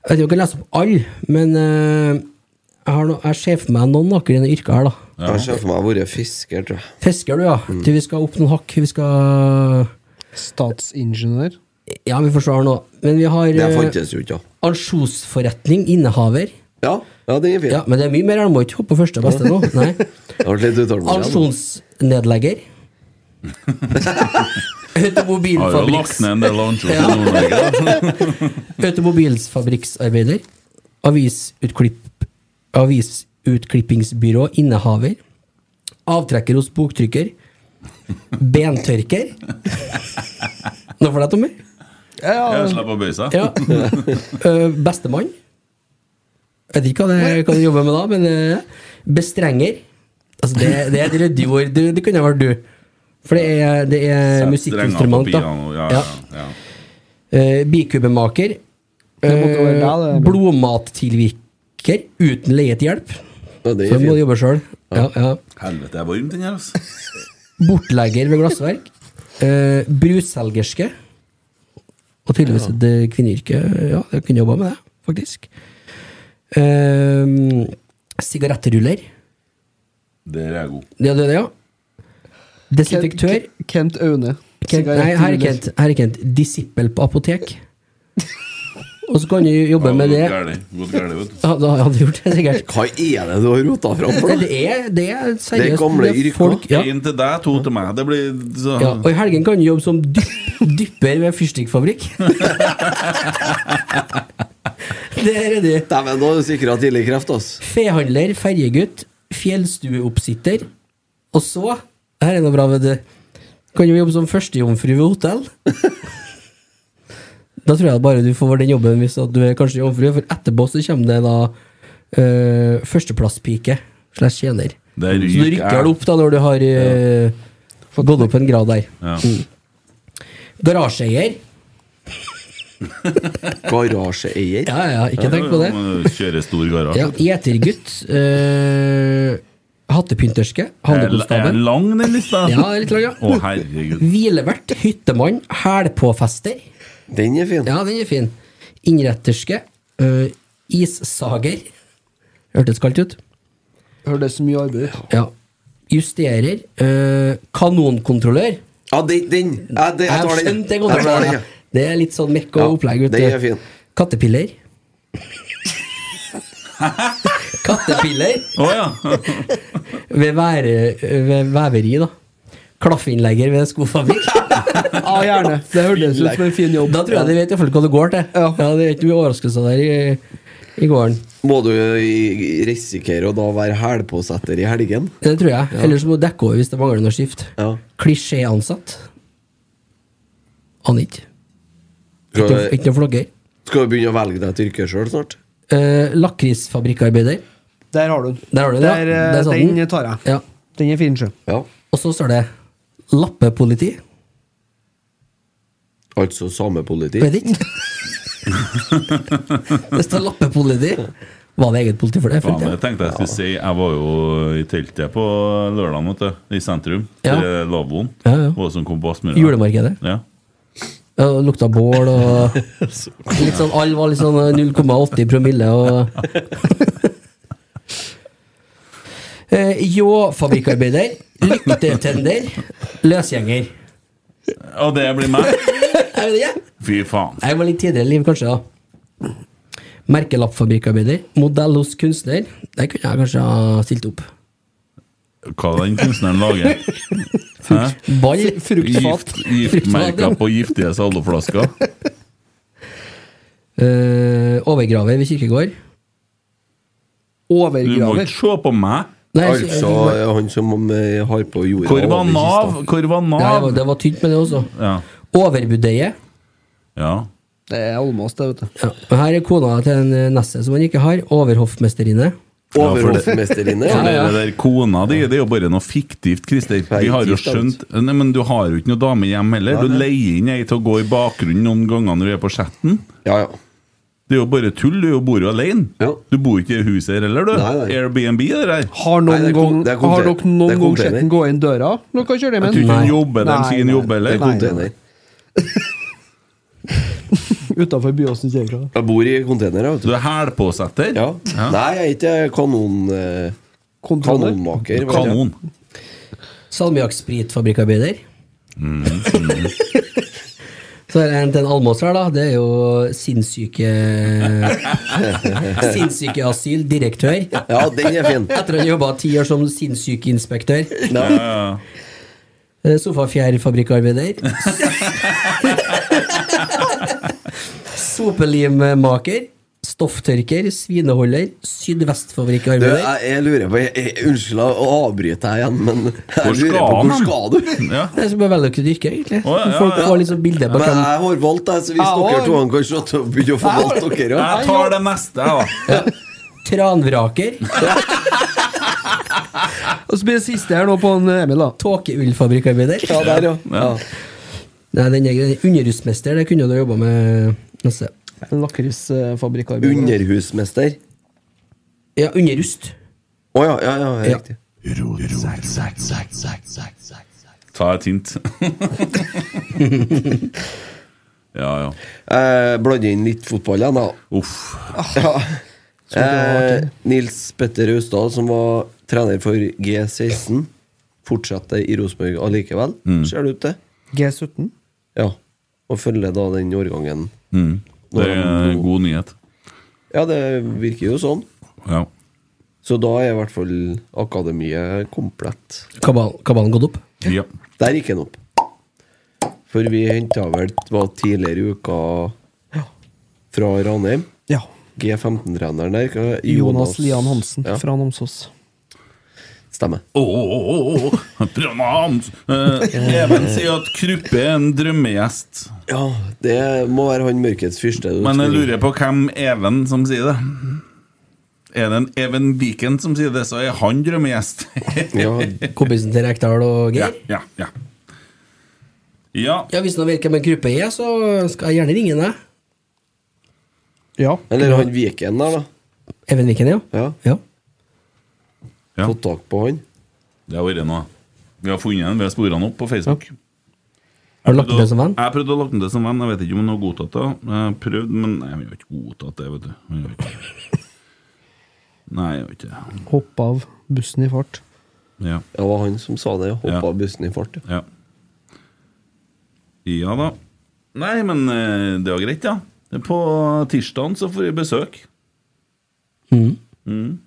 Jeg vet ikke om jeg kan lese opp alle, men eh, jeg, har no, jeg ser for meg noen akkurat yrker her, da. Jeg ser for meg å være fisker, tror jeg. Fisker, du, ja. Mm. Til vi skal opp noen hakk. Vi skal Statsingeniør? Ja, vi forsvarer nå. Men vi har Det eh, fantes jo ikke, da. Ansjosforretning, innehaver. Ja, ja, den er fin. Ja, men det er mye mer, jeg må ikke hoppe på første beste nå. Nei. Jeg ble litt utålmodig. jeg, da. Ansjonsnedlegger. Har jo lagt Automobilfabrikks... ned en del ansjos i Ja. Nord-Norge. Automobilfabrikksarbeider. Avisutklipp... Avisutklippingbyrå innehaver. Avtrekker hos boktrykker. Bentørker. Noe for deg, Tommy? Ja, Slipp å bøye seg. Ja. Eh, Bestemann. Jeg vet ikke hva det- hva du jobber med da, men eh, bestrenger. Altså, det, det er et ryddig ord. Det, det kunne vært du. For det er, det er Sett strenger Eh, musikkinstrument, på da. piano, ja, ja, ja. Eh, bikubemaker. Det måtte være Eh, deg, det. Blodmattilvirker uten leiet hjelp. Ja, det er Så må fint. du jobbe sjøl. Ja, ja. Helvete, det er varmt inni her, altså. Bortlegger ved glassverk. Eh, brusselgerske. Og tydeligvis et kvinneyrke. Ja, jeg kunne jobba med det, faktisk. Eh, sigarettruller. Der er jeg god. Det er det, ja. Desinfektør. Kent, Kent Aune. Kent, nei, her er Kent. Her er Kent. Disippel på apotek. Og så kan du jobbe med det. Gått gærlig, vet du. Ja, da hadde du gjort det, sikkert. Hva er det du har rota fram for? Nei, Det er, det er seriøst. Det er gamle det er yrker. folk- ja. En til deg, to til meg. Det blir så Ja, og i helgen kan du jobbe som dyp, dypper ved fyrstikkfabrikk. det er det. Dæven, da er du sikra tidlig kreft, ass. Fehandler, ferjegutt, fjellstueoppsitter. Og så Her er noe bra, vet du. Kan du jobbe som førstejomfru ved hotell? da tror jeg bare du får den jobben hvis at du er kanskje jomfru, for etterpå så kommer det da eh, førsteplasspike slash tjener. Det Så ryker. du rykker vel opp da når du har eh, gått opp en grad der. Ja. Mm. Garasjeeier. Garasjeeier. Ja, ja, ikke tenk på det. Kjøre stor garasje. Ja, Gjetergutt. eh, hattepynterske. Er den Handlekonstabel. lang, den lista? Ja, den er litt lang, ja. Å, herregud. Hvilevert. Hyttemann. Hælpåfester. Den er fin. Ja, den er fin. Innretterske. eh, issager. Hørtes kaldt ut. Hørtes mye arbeid ut. Ja. Justerer. eh, kanonkontrollør. Ja, den, den. Ja, det, jeg tar den. skjønte det godt. Jeg tar den, ja. Det er litt sånn mekk Ja, og opplegg. vet den du. er fin. Kattepiller. Kattepiller Å ja. ved, være, ved veveri, da. Klaffeinnlegger ved skofabrikk. Ja, gjerne. Det hørtes ut som en fin jobb. Da tror jeg de vet i hvert fall hva det går til. Ja. det er ikke mye overraskelse der i, i gården. Må du i- risikere å da være hælpåsetter i helgen? Det tror jeg. Ellers må du dekke over hvis det mangler noe skift. Ja. Klisjéansatt. Aner ikke. Skal Ikke- du, Ikke noe flogger. skal du begynne å velge deg et yrke sjøl snart? Eh, Lakrisfabrikkarbeider. Der har du den. Der har du det, ja. Der, eh, Der satt den. den tar jeg. Ja. Den er fin, sjø. Ja. Og så står det lappepoliti. Altså samepoliti? Vet ikke. det står lappepoliti. Var det eget politi for det? Faen, Følte jeg jeg. tenkte jeg skulle si Jeg var jo i teltet på lørdag, vet du. I sentrum. Ja. Til lavvoen. Ja, ja. Var det som kom på Aspmyra. Julemarkedet. Ja. Ja, det lukta bål og litt sånn, Alle var litt sånn eh, 0,80 promille og Eh, Ljå fabrikkarbeider. Lyktetender. Løsgjenger. Og det blir meg? Er det det? Fy faen. Jeg var litt tidligere i liv, kanskje. da Merkelappfabrikkarbeider. Modell hos kunstner. Der kunne jeg kanskje ha stilt opp. Hva den kunstneren lager? Hæ? Ball. Gift, giftmerker på giftige saloflasker? Eh, overgraver ved kirkegård. Du må ikke Overgraver. se på meg! Nei, Altså kirkegård. han som eh, har på jorda Hvor var over Nav? kista. Hvor var Ja, det var, Nav? det var tynt med det også. Ja. Overbudeie. ja. Det er Almås, det, vet du. Ja. og Her er kona til en eh, Nesse som han ikke har. Overhoffmesterinne. Overhoffmesterinne? For ja. det der Kona di det er jo bare noe fiktivt, Christer. Vi har jo Fiktivt, skjønt Nei, Men du har jo ikke noe dame hjem heller. Du leier inn ei til å gå i bakgrunnen noen ganger når vi er på chatten. ja, ja. Det er jo bare tull. Du bor jo alene. Du bor ikke i huset her heller, du. Airbnb det der. Har, noen gang, har dere noen gang sett den gå inn døra? Dere kjører Jeg hjem tror ikke han jobber der han sier han jobber, eller? Utafor Byåsen kirke. Jeg bor i container. Du er hælpåsetter? Ja. Nei, jeg er ikke kanon... eh, Kontroller. kanonmaker. vet Kanon. Salmiakkspritfabrikkarbeider. Så er det en til en almås her, da. Det er jo sinnssyke Sinnssykeasyldirektør. Ja, den er fin. Etter at han jobba ti år som sinnssykeinspektør. Ja, ja, Eh, Sofafjærfabrikkarbeider. Sopelimmaker. Stofftørker. Svineholder. Du, Sydvestfabrikkarbeider. jeg, jeg lurer på jeg, jeg, Unnskyld å avbryte deg igjen, men jeg Hvor lurer skal på, han? hvor skal du? Det er som å velge et yrke, egentlig. Å, ja, ja, Folk ja. får liksom bilde på Men hvem jeg har valgt deg, så hvis Jeg dere har- to kan slå til å begynne å få Jeg valgt har- dere også. Jeg tar det neste, jeg, Tranvraker. Og så blir det siste her nå på en eh, Emil, da. Tåkeullfabrikkarbeider. Ja, der, ja. Ja. Nei, den er underhusmester. Det kunne du ha jobba med. Lasse. Lakrisfabrikkarbeider. Underhusmester. Ja, underrust. Å ja, ja, ja, Ja. riktig. Ta et hint. ja, ja. Jeg blander Eh, inn litt fotball igjen, da. Ah, Ja. Skulle det vært Eh, Nils Petter Austdal, som var trener for G16, fortsetter i Rosenborg allikevel, Mm. ser det ut til. G17. Ja. Og følger da den årgangen. Mm. Det er god nyhet. Ja, det virker jo sånn. Ja. Så da er i hvert fall akademiet komplett. Kabal, kabalen gått opp? Ja. Der gikk den opp. For vi henta vel det var tidligere i uka fra Ranheim. G15-treneren der. hva- Jonas Lian Hansen Ja, fra Namsos. Stemmer. Ååå Hans Eh, Even sier at Kruppe er en drømmegjest. Ja, det må være han mørkets fyrste. du Men jeg tror. lurer på hvem Even som sier det. Er det en Even Viken som sier det, så er han drømmegjest. Kompisen til Rekdal og Geir? Ja, ja, ja. ja Hvis noen vet hvem en gruppe er, så skal jeg gjerne ringe deg. Ja. Eller han Viken der, da. Even Viken, ja. ja. Fått tak på han. Det har vært noe. Vi har funnet den, vi har sporet den opp på Facebook. Har du lagt den til som venn? Jeg prøvde å lage den til som venn. Jeg vet ikke om han har godtatt det. Jeg har prøvd, men nei, vi har ikke godtatt det. vet du Vi har ikke. Nei, jeg vet ikke. Hoppe av bussen i fart. Ja. Det var han som sa det. Hoppa av bussen i fart. Ja. Ja da. Nei, men eh, det var greit, ja. På tirsdagen så får vi besøk. Mhm. Mhm.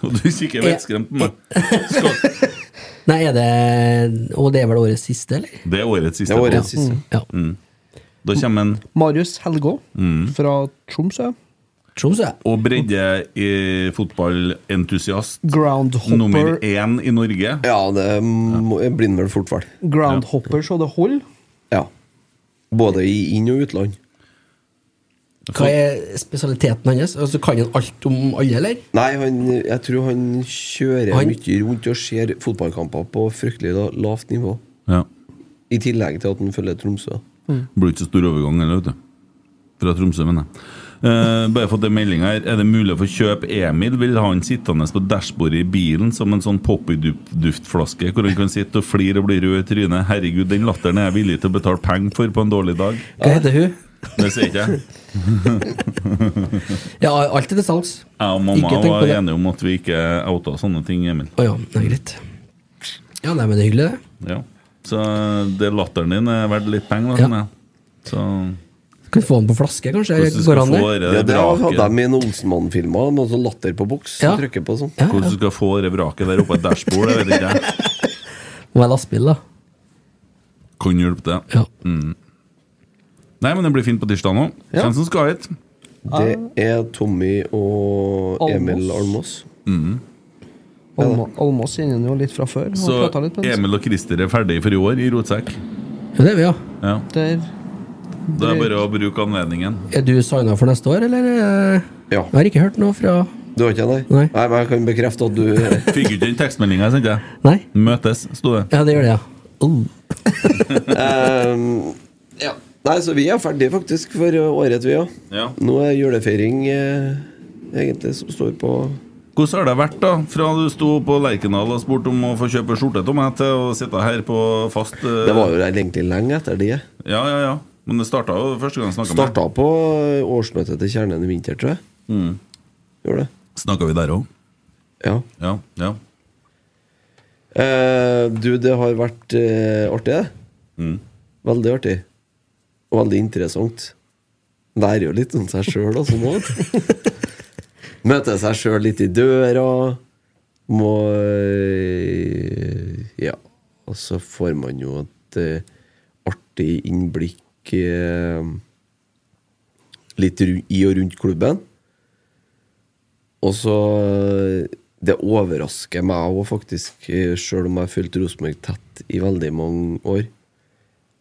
Og du kikker vettskremt på meg. Nei, er det Og det er vel årets siste, eller? Det er årets siste. Det er på. årets siste. Mm. Ja. Mhm. Da kommer en Marius Helgå Mhm. fra Tromsø. Og bredde i fotballentusiast. Groundhopper. Nummer én i Norge. Ja, det må- blir han vel fort vel. Groundhopper så det holder. Ja. Både i inn- og utland. Hva er spesialiteten hans? Altså, kan han alt om alle, eller? Nei, han, jeg tror han kjører Han- mye rundt og ser fotballkamper på fryktelig la- lavt nivå. Ja. I tillegg til at han følger Tromsø. Blir ikke så stor overgang heller, vet du. Fra Tromsø, mener jeg. Eh, bare fått en melding her. Er det mulig å få kjøpe Emil? Vil ha han sittende på dashbordet i bilen som en sånn Poppy-duftflaske, hvor han kan sitte og flire og bli rød i trynet? Herregud, den latteren er jeg villig til å betale penger for på en dårlig dag. Hva heter hun? Det sier ikke jeg. Ja, alt er til salgs. Jeg og Ikke mamma tenk på var det. enige om at vi ikke outa sånne ting, Emil. Å ja, det er greit. Ja, nei, men det er hyggelig, det. Ja. Så det latteren din er verdt litt penger, da. skjønner jeg. Så Kan få den på flaske, kanskje? Hvordan skal Går an få det? dere Ja, det hadde vraket? de i en Olsenmann-filmer. Med sånn latter på boks. Ja. Ja. Trykker på sånn. Hvordan du skal få det vraket der oppe på et dashbord, det vet ikke jeg. Må være lastebil, da. Kan hjelpe det. Mm. Nei, men det blir fint på tirsdag nå. Ja. Hvem som skal hit? Det er Tommy og Emil Almås. Mm. Alma- Almås kjenner han jo litt fra før. Så Han pratet litt med han. Emil og Christer er ferdige for i år i rotsekk. Ja, det er vi, ja. Ja. Der. Det er bare å bruke anledningen. Er du signa for neste år, eller? eh, Ja. Jeg har ikke hørt noe fra Du har ikke det? Nei. Nei, men jeg kan bekrefte at du Fikk ikke den tekstmeldinga jeg sendte? jeg. Nei. Møtes, sto det. Oh. Ja, det gjør det, ja. Ehm, ja. Nei, så vi er ferdige faktisk for året, vi òg. Ja. Nå er julefeiring eh, egentlig som står på Hvordan har det vært, da? Fra du sto på Lerkendal og spurte om å få kjøpe skjorte til meg, til å sitte her på fast eh, Det var jo egentlig lenge etter det. Ja, ja, ja. Men det starta jo første gang jeg snakka med Starta på eh, årsmøtet til Kjernen i vinter, tror jeg. Mm. Gjorde det. Snakka vi der òg? Ja. Ja, ja. Eh, du, det har vært eh, artig, det. Veldig artig. Og veldig interessant. Det er jo litt sånn seg sjøl, altså. nå, vet du. Møte seg sjøl litt i døra. Må eh, Ja. Og så får man jo et eh, artig innblikk eh, litt ru- i og rundt klubben. Og så eh, Det overrasker meg òg, faktisk, eh, sjøl om jeg har fulgt Rosenborg tett i veldig mange år,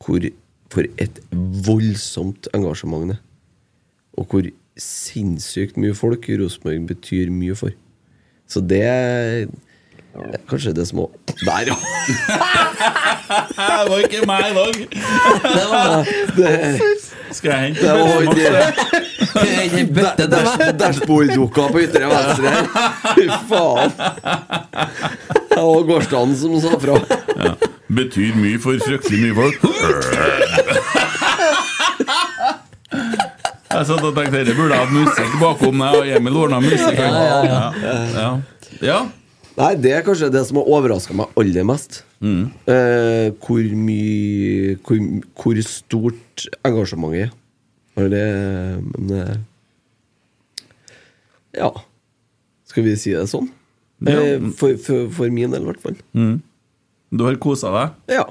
hvor for et voldsomt engasjement det er. Og hvor sinnssykt mye folk Rosenborg betyr mye for. Så det er det er kanskje det små Der, ja! Det var ikke meg i dag! Skal jeg hente Det var ikke bøtte til meg. Dash- Dashborddukka på ytre venstre her. Fy faen. Det var gårsdagen som sa fra. Ja. Betyr mye for fryktelig mye folk. Jeg satt og tenkte dette burde jeg hatt musikk bakom meg, og Emil ordna musikk. Ja, ja, ja. ja. Nei, det er kanskje det som har overraska meg aller mest. Eh, hvor mye hvor, hvor stort engasjementet er. Og det Men eh, Ja. Skal vi si det sånn? Eh, for, for, for min del, i hvert fall. Mm. Du har kosa deg? Ja.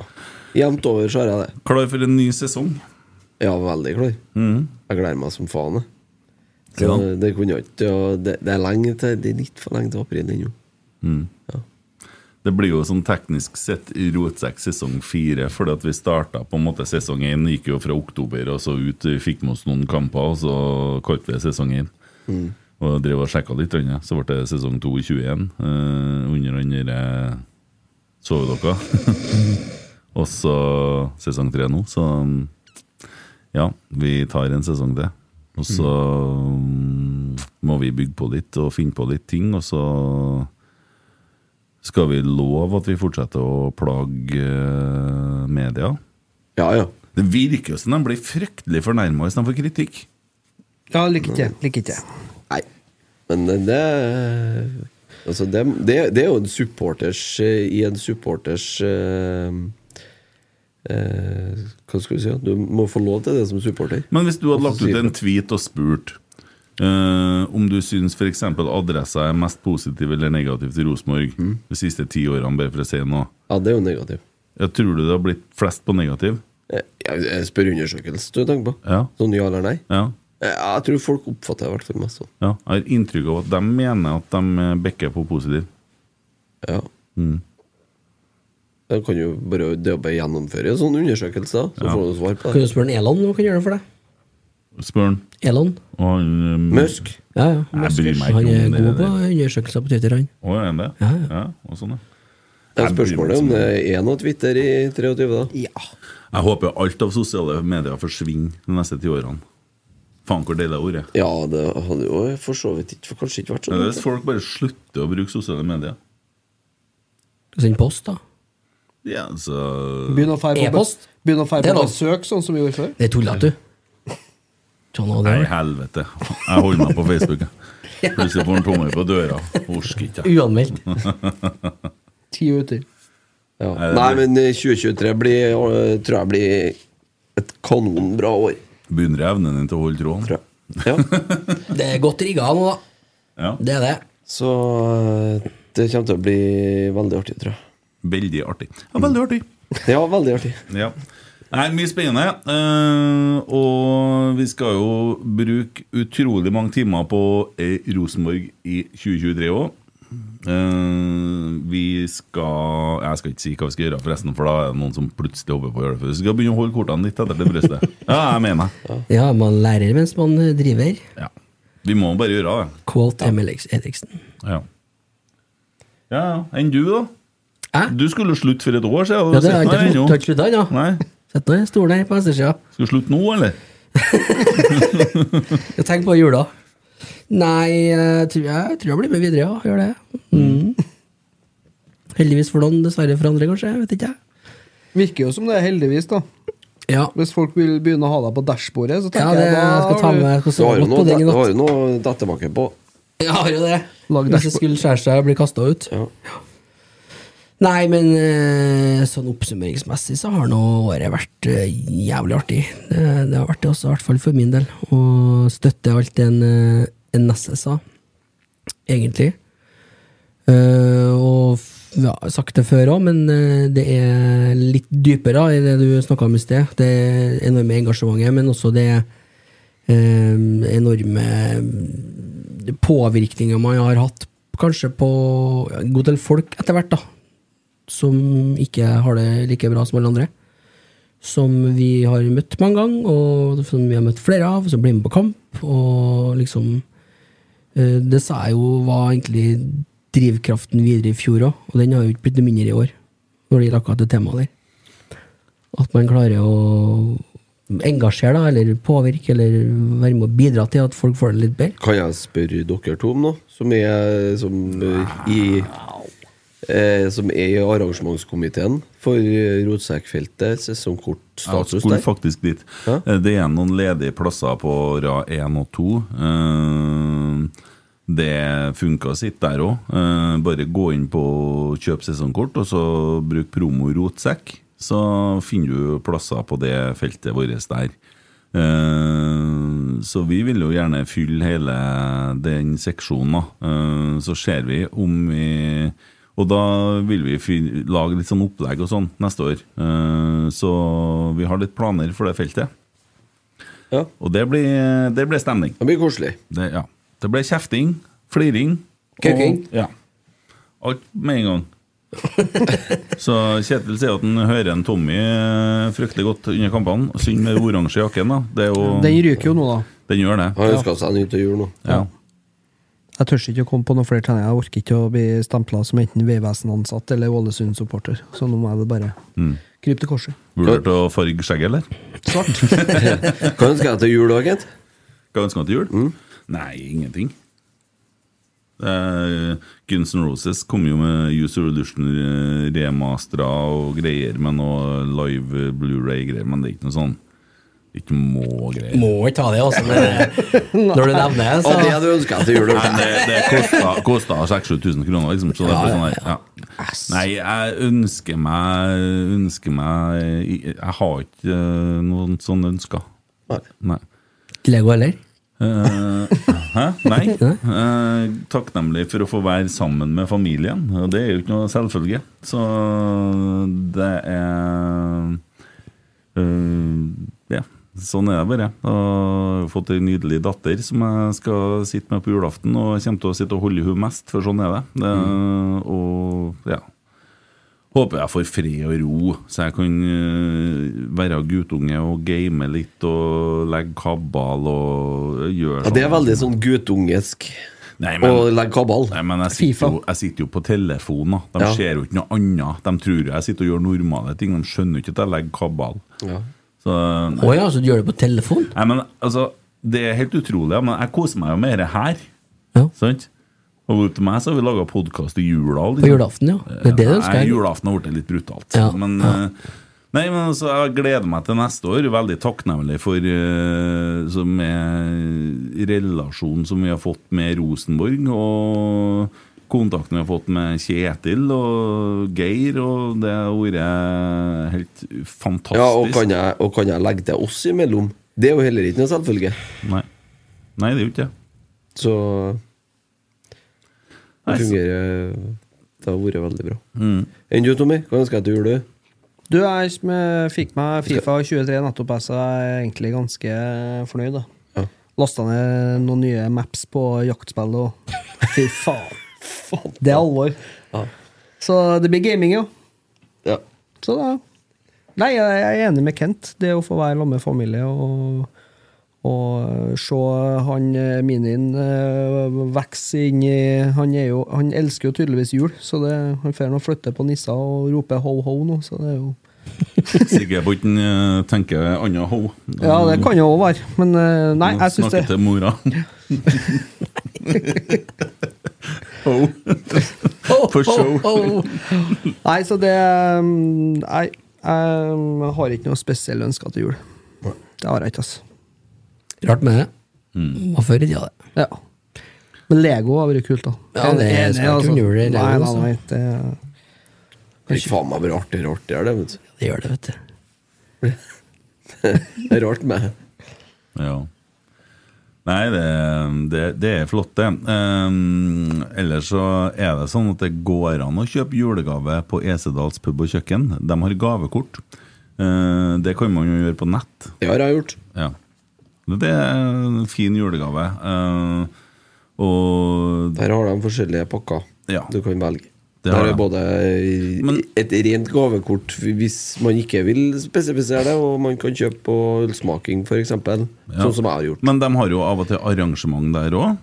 Jevnt over så har jeg det. Klar for en ny sesong? Ja, veldig klar. Mhm. Jeg gleder meg som faen. jeg. Så Ja. det kunne jeg ikke og det, det er lenge til Det er litt for lenge til april ennå. Mm. Det blir jo sånn teknisk sett i rotsekk sesong fire, fordi at vi starta på en måte sesong én, gikk jo fra oktober og så ut, vi fikk med oss noen kamper, og så kalte vi det sesong én. Mm. Og drev og sjekka litt, grann, ja. så ble det sesong to i 21, eh, under eh, den derre sovedokka. og så sesong tre nå, så mm, ja, vi tar en sesong til. Og så mm, må vi bygge på litt og finne på litt ting, og så skal vi love at vi fortsetter å plage eh, media? Ja, ja. Det virker jo som de blir fryktelig fornærma hvis de får kritikk. Ja, liker ikke. Liker ikke. Nei. Men det, det Altså, det, det, det er jo en supporters eh, I en supporters eh, eh, Hva skal vi si? Du må få lov til det som supporter. Men hvis du hadde lagt ut sier en tweet og spurt eh, om du syns f.eks. adressa er mest positiv eller negativ til Rosenborg de siste ti årene, bare for å si noe Ja, det er jo negativ. Jeg tror du det har blitt flest på negativ? Eh, Jeg, jeg spør undersøkelse, du tenker på. Ja. Sånn ja eller nei? Ja. Eh, Jeg tror folk oppfatter det i hvert fall mest sånn. ja. Jeg har inntrykk av at de mener at de eh, backer på positiv. Ja. Mm. Det kan jo bare, det å bare gjennomføre sånne undersøkelser, så Ja. får du svar på Kan det. du spørre en Elon om hva han kan gjøre for deg? Spør han. Elon? Og han, eh, Musk? Ja, ja. Jeg bryr meg han ikke er om det. god på der. undersøkelser på Twitter, han. Å, er han det? Ja, og sånn, ja. Det Jeg er bryr meg spørsmålet ikke så om det mye. er noe Twitter i 23, da. Jeg håper alt av sosiale medier forsvinner de neste ti årene. Faen hvor deilig det ordet er. Ja, det hadde jo for så vidt ikke for kanskje ikke vært sånn. Men Hvis folk bare slutter å bruke sosiale medier Send post, da. ja, så... Begynn å feire på, E-post? begynn å feire Det er på lov. besøk, sånn som vi gjorde før. Det er tullete, du. Sånn var det. Nei, helvete. Jeg holder meg på Facebook. jeg. Plutselig får han tommel på døra. Orsker ikke. jeg. Uanmeldt. Ti minutter. Ja. Nei, det Nei, men eh, 2023 blir, eh, tror jeg blir et kanonbra år. Begynner evnen din til å holde tråden? Ja. Det er godt rigga nå, da. Ja. Det er det. Så eh, det kommer til å bli veldig artig, tror jeg. Veldig artig. Ja, veldig artig. Ja, veldig artig. Ja. Nei, mye spennende. Eh, og vi skal jo bruke utrolig mange timer på eh, Rosenborg i 2023 òg. vi skal Jeg skal ikke si hva vi skal gjøre, forresten, for da er det noen som plutselig hopper på å gjøre det. For vi skal begynne å holde kortene litt etter det brystet. Ja, jeg mener det. Ja, man lærer mens man eh, driver. Vi må bare gjøre det. Quote Emil Eriksen. Ja, ja. Enn du, da? Du skulle slutte for et år siden. Ja, det har jeg ikke Nei, slutt- ennå. har ikke slutta ennå. Nei. Sitter nå i stolen her på venstresida. Skal du slutte nå, eller? Jeg tenker på jula. Nei, jeg tror jeg, jeg tror jeg blir med videre, ja. Gjør det. Mm. Heldigvis for noen, dessverre for andre, kanskje. Vet ikke jeg. Virker jo som det, heldigvis, da. Hvis folk vil begynne å ha deg på dashbordet, så Ja, tenker det- jeg da jeg skal ta har du- med- jeg skal Du har jo godt på noe, den i du natt. har jo noe datterbakke på. Jeg har jo det. Lag Hvis det dashboard. skulle skjære seg og bli kasta ut. Nei, men eh, sånn oppsummeringsmessig så har nå året vært eh, jævlig artig. Det, det har vært det også, i hvert fall for min del. Å støtte alt det en, eh, en Nesse sa, egentlig. Eh, og f- ja, jeg har sagt det før òg, men eh, det er litt dypere i det du snakka om i sted. Det enorme engasjementet, men også det eh, enorme påvirkninga man har hatt kanskje på ja, en god del folk etter hvert, da. Som ikke har det like bra som alle andre. Som vi har møtt mange ganger, og som vi har møtt flere av, som blir med på kamp. Og liksom eh, Det sa jeg jo var egentlig drivkraften videre i fjor òg, og den har jo ikke blitt noe mindre i år. Når det gjelder akkurat det temaet der. At man klarer å engasjere, da, eller påvirke, eller være med å bidra til at folk får det litt bedre. Kan jeg spørre dere to om noe? Som er, som, eh, i, eh, som er i arrangementskomiteen for eh, Rotsekkfeltet, Jeg sesongkortstatus skulle der. faktisk dit. Eh, Det er noen ledige plasser på rad 1 og 2. Eh, Det funka sitt der òg. Bare gå inn på kjøp sesongkort, og så bruk promo rotsekk. Så finner du plasser på det feltet vårt der. Eh, Så vi vil jo gjerne fylle hele den seksjonen, da. Eh, Så ser vi om vi Og da vil vi fy- lage litt sånn opplegg og sånn neste år. Eh, Så vi har litt planer for det feltet. Og det blir, det blir stemning. Det blir koselig. Det, ja. det blir kjefting, fliring og- Kuking. Ja. Alt med en gang. Så Kjetil sier at han hører en Tommy eh, fryktelig godt under kampene. Synd med oransje jakken, da. Det er jo, Den ryker jo nå, da. Den gjør det. Har ønsket seg nytt til jul nå. Ja. Jeg tør ikke å komme på noen flere treninger. Jeg orker ikke å bli stempla som enten Vegvesen-ansatt eller Ålesund-supporter. Så nå må jeg vel bare Mm. krype til korset. Vurderte å farge skjegget, eller? Svart. Hva ønsker jeg til jul, da, Kent? Hva ønsker han til jul? Mm. Nei, ingenting. Eh, Guns N' Roses kom jo med User Illusion remastera og greier med noe live Blu-ray-greier, men det er ikke noe sånn Ikke må-greier. Må ikke ha det, altså. Men når du nevner det, så Og det du ønska til jul, Nei, det, det kosta- kosta 6000-7000 kroner, liksom. Så det Ja, er ja, sånn der, ja. Nei, jeg ønsker meg Ønsker meg Jeg har ikke eh, noen sånne ønsker. Nei. Lego heller? Eh, hæ? Nei. Eh, takknemlig for å få være sammen med familien. Og det er jo ikke noe selvfølge. Så det er eh, Ja, sånn er det bare. Og Jeg har fått ei nydelig datter som jeg skal sitte med på julaften, og jeg kommer til å sitte og holde henne mest, for sånn er det. det Mm. Og ja. Håper jeg får fred og ro, så jeg kan eh, være guttunge og game litt og legge kabal og gjøre Ja, det er veldig sånn guttungesk. Nei, men- Å legge kabal. Nei, men jeg sitter, jo, jeg sitter jo på telefon, da. De Ja. ser jo ikke noe annet. De tror jo jeg sitter og gjør normale ting. De skjønner jo ikke at jeg legger kabal. Ja. Så, eh, Å ja, så du gjør det på telefon? Nei, men altså Det er helt utrolig, ja, men jeg koser meg jo med det her. Sant? Og til meg så har vi laga podkast i jula. og På julaften, ja. Det er det du ønsker, Nei, eller? julaften har blitt litt brutalt. Ja. Men, Ja. eh, Nei, men altså, Jeg gleder meg til neste år. Veldig takknemlig for eh, som er relasjonen som vi har fått med Rosenborg. Og kontakten vi har fått med Kjetil og Geir. Og det har vært helt fantastisk. Ja, og kan, jeg, og kan jeg legge til oss imellom? Det er jo heller ikke noe selvfølge. Nei. Nei, det er jo ikke det. Så Nei, det så- fungerer eh, Det har vært veldig bra. Mm. Enn du, Tommy? Hva ønsker jeg til jul? du? Du, jeg sm- fikk meg Fifa 23 nettopp, så jeg er egentlig ganske fornøyd, da. Lasta ned noen nye maps på jaktspill og Fy faen! Det er alvor. Så det blir gaming, jo. Ja. Så da Nei, jeg jeg er enig med Kent. Det å få være sammen med familie og, og se han eh, minien eh, vokse inn i han, er jo, han elsker jo tydeligvis jul, så det, han får nå flytte på nisser og rope ho ho nå, så det er jo Sikkert på ikke han, eh, tenker annet ho. Ja, det kan jo òg være. Men eh, nei, Mm, jeg syns det Snakker til mora. Ho. For show. Nei, så det um, Nei, jeg um, har ikke noe spesielle ønsker til jul. Det har jeg ikke, altså. Rart med det. Mm. Var før i tida, det. Ja. Men Lego har vært kult, da. Ja, det Jeg er enig, snart jul i Lego, Nei, nei, altså. nei, det, Det blir faen meg blir artigere og artigere, det, vet du. Det gjør det, vet du. Det er rart med Ja. Nei, det, det, det er flott, det. Um, ellers så er det sånn at det går an å kjøpe julegave på Esedals pub og kjøkken. De har gavekort. Eh, det kan man jo gjøre på nett. Det har jeg gjort. Ja. Det er en fin julegave. Eh, og Der har de forskjellige pakker Ja. du kan velge. Det har Der de. er både et rent gavekort hvis man ikke vil spesifisere det, og man kan kjøpe på ølsmaking, f.eks. Ja. Sånn som jeg har gjort. Men de har jo av og til arrangement der òg?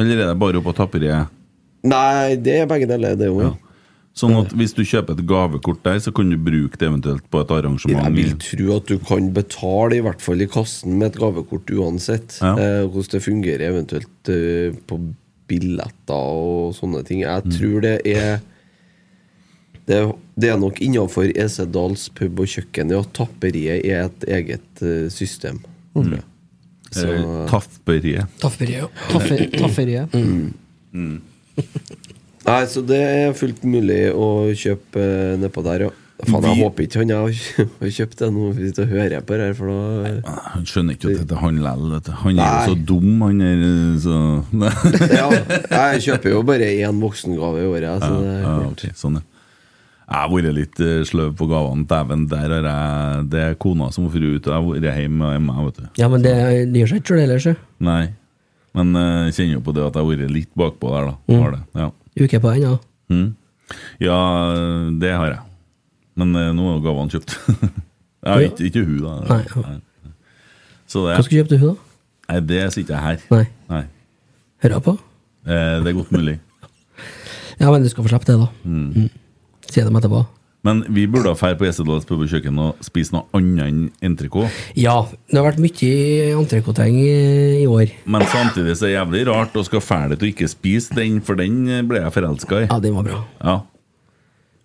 Eller er det bare oppe på tapperiet? Nei, det er begge deler, det òg. Sånn at hvis du kjøper et gavekort der, så kan du bruke det eventuelt på et arrangement? Jeg vil tro at du kan betale, i hvert fall i kassen, med et gavekort uansett. Ja. Eh, hvordan det fungerer eventuelt eh, på billetter og sånne ting. Mm. Jeg tror det er det, det er nok innafor Esedals pub og kjøkken, ja. Tapperiet er et eget eh, system. Mm. Tror jeg. Eh, Tapperiet. Tafferiet. Taffe- tafferiet. Mm. Nei, så det er fullt mulig å kjøpe eh, nedpå der, ja. Faen, jeg Vi- håper ikke han har har kjøpt det nå, hvis du hører på det her, for da Han skjønner ikke at dette er han lell. vet du. Han er jo så dum, han er eh, så Nei. ja, jeg kjøper jo bare én voksengave i året. Så det, Ja, ok, sånn, ja. Jeg har vært litt eh, sløv på gavene. Dæven, der har jeg Det er kona som har vært ut, og jeg har vært hjemme med meg, vet du. Ja, men det, det gjør seg ikke sjøl ellers, det. Nei. Men eh, jeg kjenner jo på det at jeg har vært litt bakpå der, da. Mm. Har det. Ja. Uke på ennå. Mm. ja, det har jeg. Men eh, nå er jo gavene kjøpt. ja, Ja. ikke, ikke hun, da. Nei. Så det, Hva skal du kjøpe til hun, da? Nei, det sitter jeg her. Nei. Nei. Hører jeg på? Eh, det er godt mulig. Ja, men du skal få slippe det, da. Mm. Si dem etterpå. Men vi burde ha fær på Esedals pub og kjøkken og spise noe annet enn entrecôte. Ja, det har vært mye entrecôteng i i år. Men samtidig så er det jævlig rart å skal fære det til å ikke spise den, for den ble jeg forelska i. Ja, den var bra. Ja.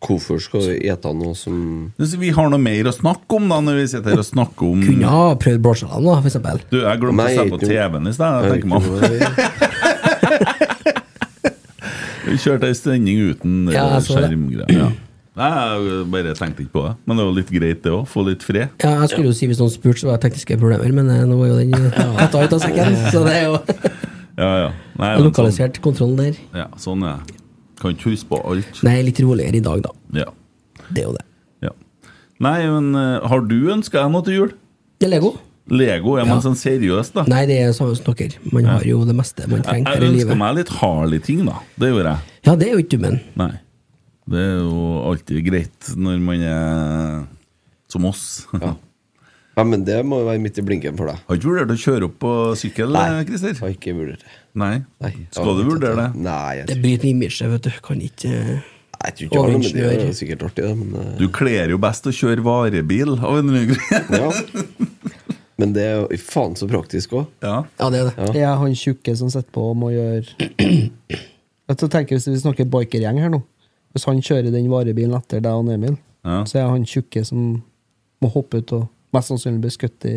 Hvorfor skal vi ete noe som Så vi har noe mer å snakke om, da, når vi sitter her og snakker om Kunne ha prøvd blåskjellene, da, for eksempel. Du, jeg glemte å se på TV-en i sted, jeg tenker meg om. Vi kjørte ei sending uten ja, Ja, jeg så det. skjermgreier. Ja. Nei, jeg bare tenkte ikke på det. Men det var litt greit, det òg. Få litt fred. Ja, jeg skulle jo si hvis noen spurte, så var det tekniske problemer, men eh, nå var jo den eh, tatt ut av sekken, så det er jo Ja, ja. Nei, men sånn, lokalisert kontroll der. ja, sånn er det. Kan ikke huske på alt. Nei, litt roligere i dag, da. Ja. Det er jo det. Ja. Nei, men eh, har du ønska deg noe til jul? Det er Lego. Lego, ja, men sånn seriøst, da. Nei, det er samme som dere. Man har jo det meste man Jeg, trenger jeg her i ønsker livet. meg litt Harley-ting, da. Det gjorde jeg. Ja, det er jo ikke dummen. Nei. Det er jo alltid greit når man er som oss. Ja. Ja, men det må jo være midt i blinken for deg. Har ikke vurdert å kjøre opp på sykkel, eh, Christer? Har ikke vurdert det. Nei. Skal du jeg vet vurdere det? ikke. Nei, jeg Det bryter med imaget, vet du. Kan ikke eh, tror ikke jeg har noe med det. Overinsjøer. Det er sikkert artig, det, men eh, Du kler jo best å kjøre varebil av en eller annen grunn. ja. Men det er jo faen så praktisk òg. Ja. Ja, det er det. Er jeg han tjukke som sitter på og må gjøre Vet du, tenker Hvis vi snakker bikergjeng her nå Hvis han kjører den varebilen etter deg og Emil, Ja. så er han tjukke som må hoppe ut og mest sannsynlig bli skutt i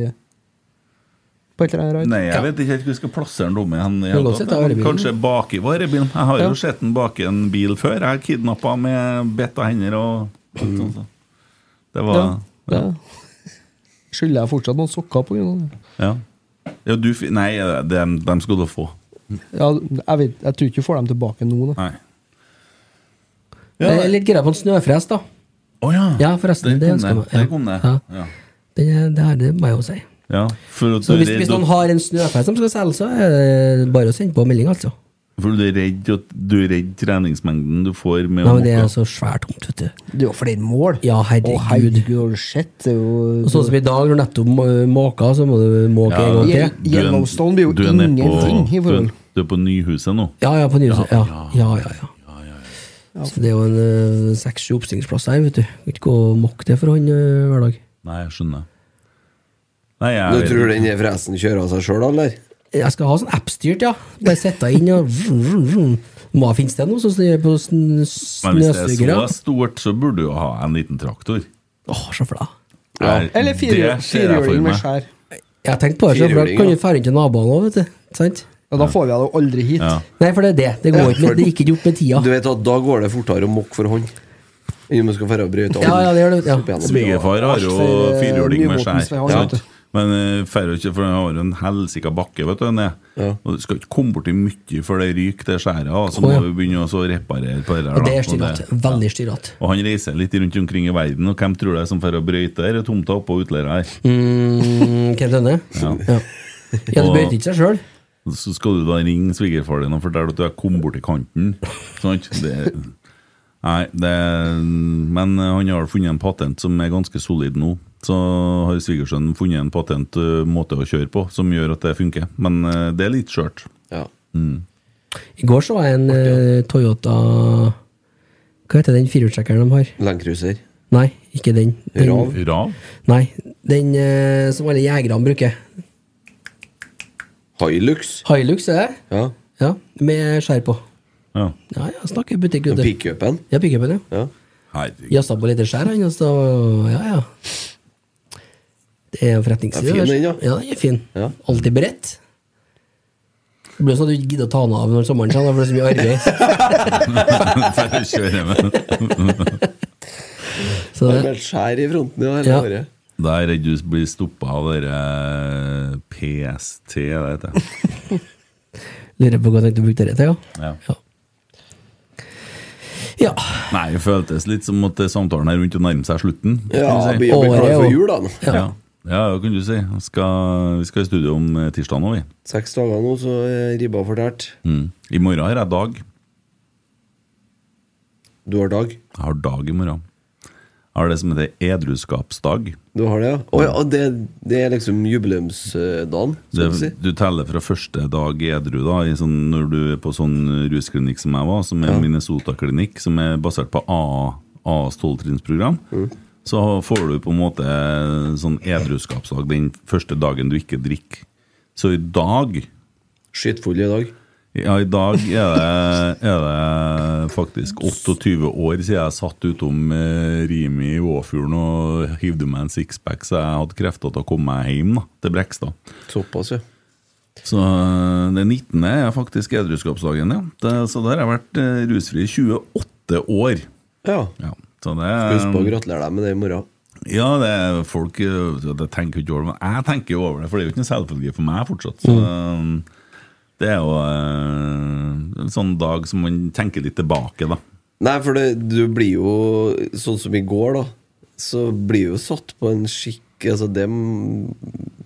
På et eller annet Nei, jeg rart. vet ikke helt hvor jeg skal plassere den dumme hen. i Kan hele godt tatt. sette varebilen. Kanskje bak i varebilen. Jeg har Ja. jo sett den bak i en bil før. Jeg har kidnappa med bitte hender og Mm. sånn. sånn. Det var Ja. Skylder jeg fortsatt noen sokker på grunn av det? Ja. ja du, fi- nei, dem, dem skal du få. Ja, jeg, vet, jeg tror ikke du får dem tilbake nå. Da. Nei. Jeg er litt gira på en snøfres, da. Å ja. forresten. Det Der kom ønsker jeg det. meg. Der kom det. Ja. Ja. Det, er- det her, det må jeg jo si. Ja, for at Så du er hvis, redd hvis noen at- har en snøfres som skal selge, så er det bare å sende på melding, altså. for du er redd at du er redd treningsmengden du får med Nei, å men det måke. er altså så svært tomt, vet du. Det er jo flere mål. Ja, herregud. Å, herregud, har du sett? Det er Og sånn som i dag, når du nettopp må- måka, så må du måke Ja, en gang til. du er- Yellowstone blir jo du er nede på- ingenting i forhold. Du, er- du er på Nyhuset nå? Ja, ja, på nyhuset. Ja, ja, ja. ja, Så det er jo en øh, seks-sju oppstillingsplasser her, vet du. Kan ikke gå og mokke det for han øh, hver dag. Nei, jeg skjønner. Nei, jeg Du vet tror ikke. den fresen kjører av seg sjøl, eller? Jeg skal ha sånn app-styrt, ja. Bare sette inn og vroom, vroom, vroom. Må jeg finnes det nå, sånn som det er på Men sn- hvis det er snøsugere? så stort, så burde du jo ha en liten traktor. Åh, se for deg. Nei, Eller det ser fire- jeg for firehjuling med meg. skjær. Jeg tenkte på det, så for da Firehjuling, kan ja. vi dra inn til naboene òg, vet du. Sant? Ja, da får vi det jo aldri hit. Nei, for det er det. Det går ikke med, det gikk ikke gjort med tida. Du vet at Da går det fortere å mokke for hånd. Enn om du skal dra og bryte Ja, ja, det gjør det, ja. opp igjennom. Svigerfar har jo Alt for, eh, firhjuling med skjær. Nyvåtens vei, han, Ja. vet du. Men eh, færre ikke, for han har jo en helsika bakke, vet du. ned. Og du skal ikke komme borti mye før det ryker, det skjæret. og Så Å, må ja. du begynne også å reparere på det der. Og det da. er styrete. Og, Veldig styrete. det- og han reiser litt rundt omkring i verden, og hvem tror det er som drar og brøyter denne tomta oppå utleia her? Mm, Kent Lønne? Ja. Ja. Ja, det Og- brøyter ikke seg sjøl. Så skal du da ringe svigerfar din og fortelle at du har kommet bort til kanten. Sant? Det, nei, det, men han har funnet en patent som er ganske solid nå. Så har svigersønnen funnet en patent eh, måte å kjøre på som gjør at det funker. Men eh, det er litt skjørt. Mm. I går så jeg en eh, Toyota Hva heter den firehjulstrekkeren de har? Landcruiser. Nei, ikke den. den Rav. Nei, den eh, som alle jegerne bruker. Hilux. Hilux er det? Ja. Ja, med skjær på. Ja. ja, jeg snakker butikk, vet du. Pickupen. Ja, pickupen, ja. Jazza på litt skjær, han, og så Ja, ja. Det er en forretningsside. Den er fin, den, ja. ja. Den er fin. Alltid beredt. Det blir jo sånn at du ikke gidder å ta den av når sommeren kommer, for det er så mye arbeid. For å kjøre med. Så det det- har vært skjær i fronten ja, hele Ja. året. Da er jeg redd du blir stoppa av eh, dere PST, det heter det. Lurer på hva jeg tenkte å bruke det til, ja. Ja. Ja. Nei, det føltes litt som at samtalen er rundt å nærme seg slutten. kan Ja, altså, du si. begynner å bli klar for jul, da. nå. Ja, ja. det kan du si. Vi Skal, vi skal i studio om eh, tirsdag nå, vi. Seks dager nå, så er ribba fortært. Mm. I morgen har jeg dag. Du har dag? Jeg har dag i morgen. Jeg har det som heter edruskapsdag. Du har det, ja? Å ja, og det, det er liksom jubileumsdagen, skal vi si. Det, du teller fra første dag edru, da, i sånn, når du er på sånn rusklinikk som jeg var, som er Minnesota-klinikk, som er basert på AA AAs tolvtrinnsprogram. Mm. Så får du på en måte sånn edruskapsdag den første dagen du ikke drikker. Så i dag Skytfull i dag. Ja, i dag er det, er det faktisk 28 år siden jeg satt utom eh, Rimi i Åfjorden og hivde meg en sixpack, så jeg hadde krefter til å komme meg hjem da, til Brekstad. Såpass, ja. Så eh, den 19. er faktisk edruskapsdagen, ja. Det, så der har jeg vært eh, rusfri i 28 år. Ja. Så det Skal huske på å gratulere deg med det i morgen. Ja, det er folk eh, det tenker jo ikke over det, men jeg tenker jo over det, for det er jo ikke en selvfølge for meg fortsatt. Så eh, det er jo eh, en sånn dag som man tenker litt tilbake, da. Nei, for det, du blir jo Sånn som i går, da. Så blir jo satt på en skikk Altså, det,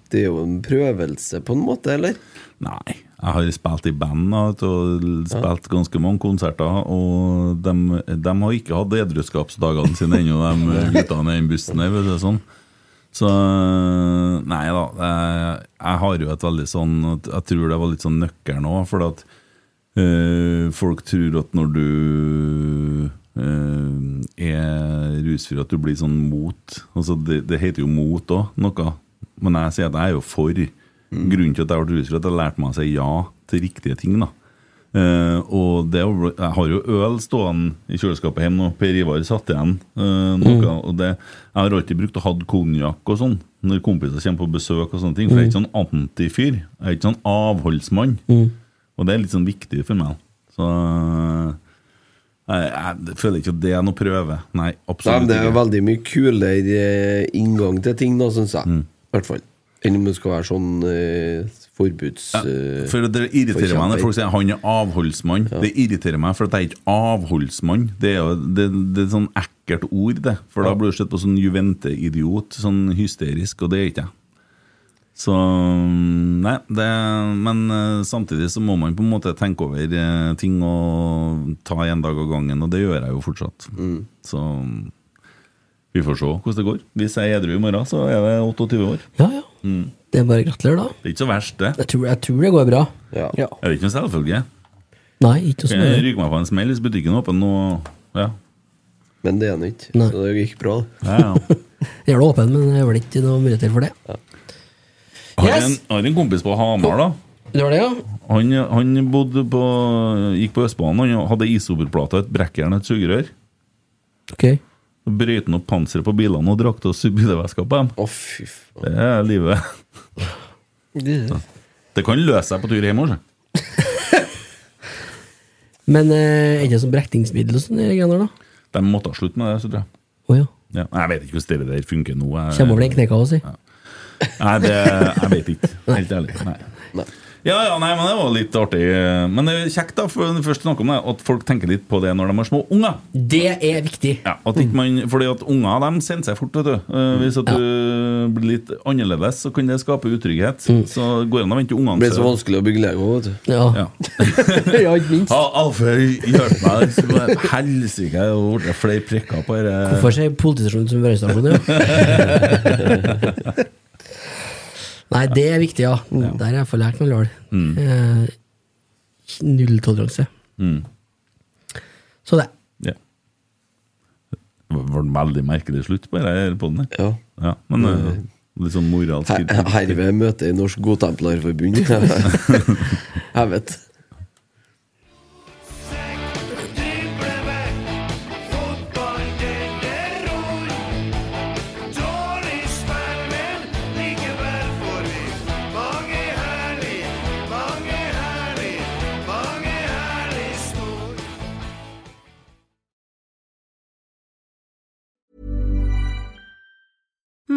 det er jo en prøvelse, på en måte, eller? Nei. Jeg har spilt i band da, vet du, og spilt ganske mange konserter, og de, har ikke hatt edruskapsdagene sine ennå, de guttene i den bussen her. vet du, sånn. Så eh, Nei da. Jeg, jeg har jo et veldig sånn at Jeg tror det var litt sånn nøkkelen òg, for at eh, folk tror at når du eh, er rusfri, at du blir sånn mot. Altså, det, det heter jo mot òg, noe. Men jeg sier at jeg er jo for. Grunnen til at jeg ble rusfri, er at jeg lærte meg å si ja til riktige ting. da Eh, og det, var- jeg har jo øl stående i kjøleskapet hjemme nå. Per Ivar satt igjen eh, noe. Og det, jeg har alltid brukt å ha konjakk og sånn når kompiser kommer på besøk. og sånne ting For jeg er ikke sånn antifyr. Jeg er ikke sånn avholdsmann. Og det er litt sånn viktig for meg. Så eh, jeg, jeg føler ikke at det er noe prøve. Nei, Nei, men absolutt det er ikke. veldig mye kulere inngang til ting, da, syns Mm. jeg. I hvert fall. Enn om det skal være sånn eh, forbuds... eh, For det irriterer meg når folk sier han er avholdsmann. Det irriterer meg, for at jeg er ikke avholdsmann. Det er jo det, det er sånn ekkelt ord, det. For da blir du sett på sånn Juvente-idiot, sånn hysterisk, og det er ikke jeg. Så mm, Nei, det Men eh, samtidig så må man på en måte tenke over eh, ting og ta en dag av gangen, og det gjør jeg jo fortsatt. Så vi får se hvordan det går. Hvis jeg er edru i morgen, så er det 28 år. Ja, ja. Mm. Det er bare å gratulere, da. Det er ikke så verst, det. Jeg tror, jeg tror det går bra. Ja. Er det ikke noe selvfølge? Nei, ikke noe Kan jeg sånn. ryke meg på en smell hvis butikken er åpen nå? Ja. Men det er han ikke, så det gikk bra. Jeg er da åpen, men jeg er vel ikke noen muligheter for det. Har en, har en kompis på Hamar, da. Det var det, ja. Han, han bodde på, gikk på Østbanen. Han hadde isoperplate, et brekkjern og et sugerør. Ok. Så brøyte han opp panseret på bilene og drakk oss bilveska på dem. det er livet. Det kan løse seg på tur altså. hjem òg, Men eh, er det som brekningsmiddel og sånne greier, da? De måtte ha slutt med det, så tror jeg. Å ja. Ja. Jeg vet ikke hvordan det der funker nå. Jeg, Kommer over den knekka også, si. Nei, det, jeg vet ikke. Helt ærlig. Nei. Ja, ja, nei, men det var litt artig. Men det er kjekt da, for når vi først snakker om det, at folk tenker litt på det når de har små unger. Det er viktig. Ja, at ikke man, fordi at unger de sender seg fort, vet du. Eh, Hvis at du blir litt annerledes, så kan det skape utrygghet. Så går det an å vente til ungene Det ble Mm. så vanskelig å bygge Lego, vet du. Ja. ja, ikke minst. Alfe, hjelp meg. Så bare, Helsike, det har blitt flere prikker på dette. Hvorfor ser politistasjonen ut som brannstasjon? Ja? Nei, det er viktig, ja. Der har jeg iallfall lært noe lol. Mm. Eh, Nulltoleranse. Mm. Så det. Ja. Det var en veldig merkelig slutt på denne poden. Ja. ja. Men eh, litt sånn moralsk Mm. Her- Herved møter jeg Norsk Godtemplarforbund. jeg vet.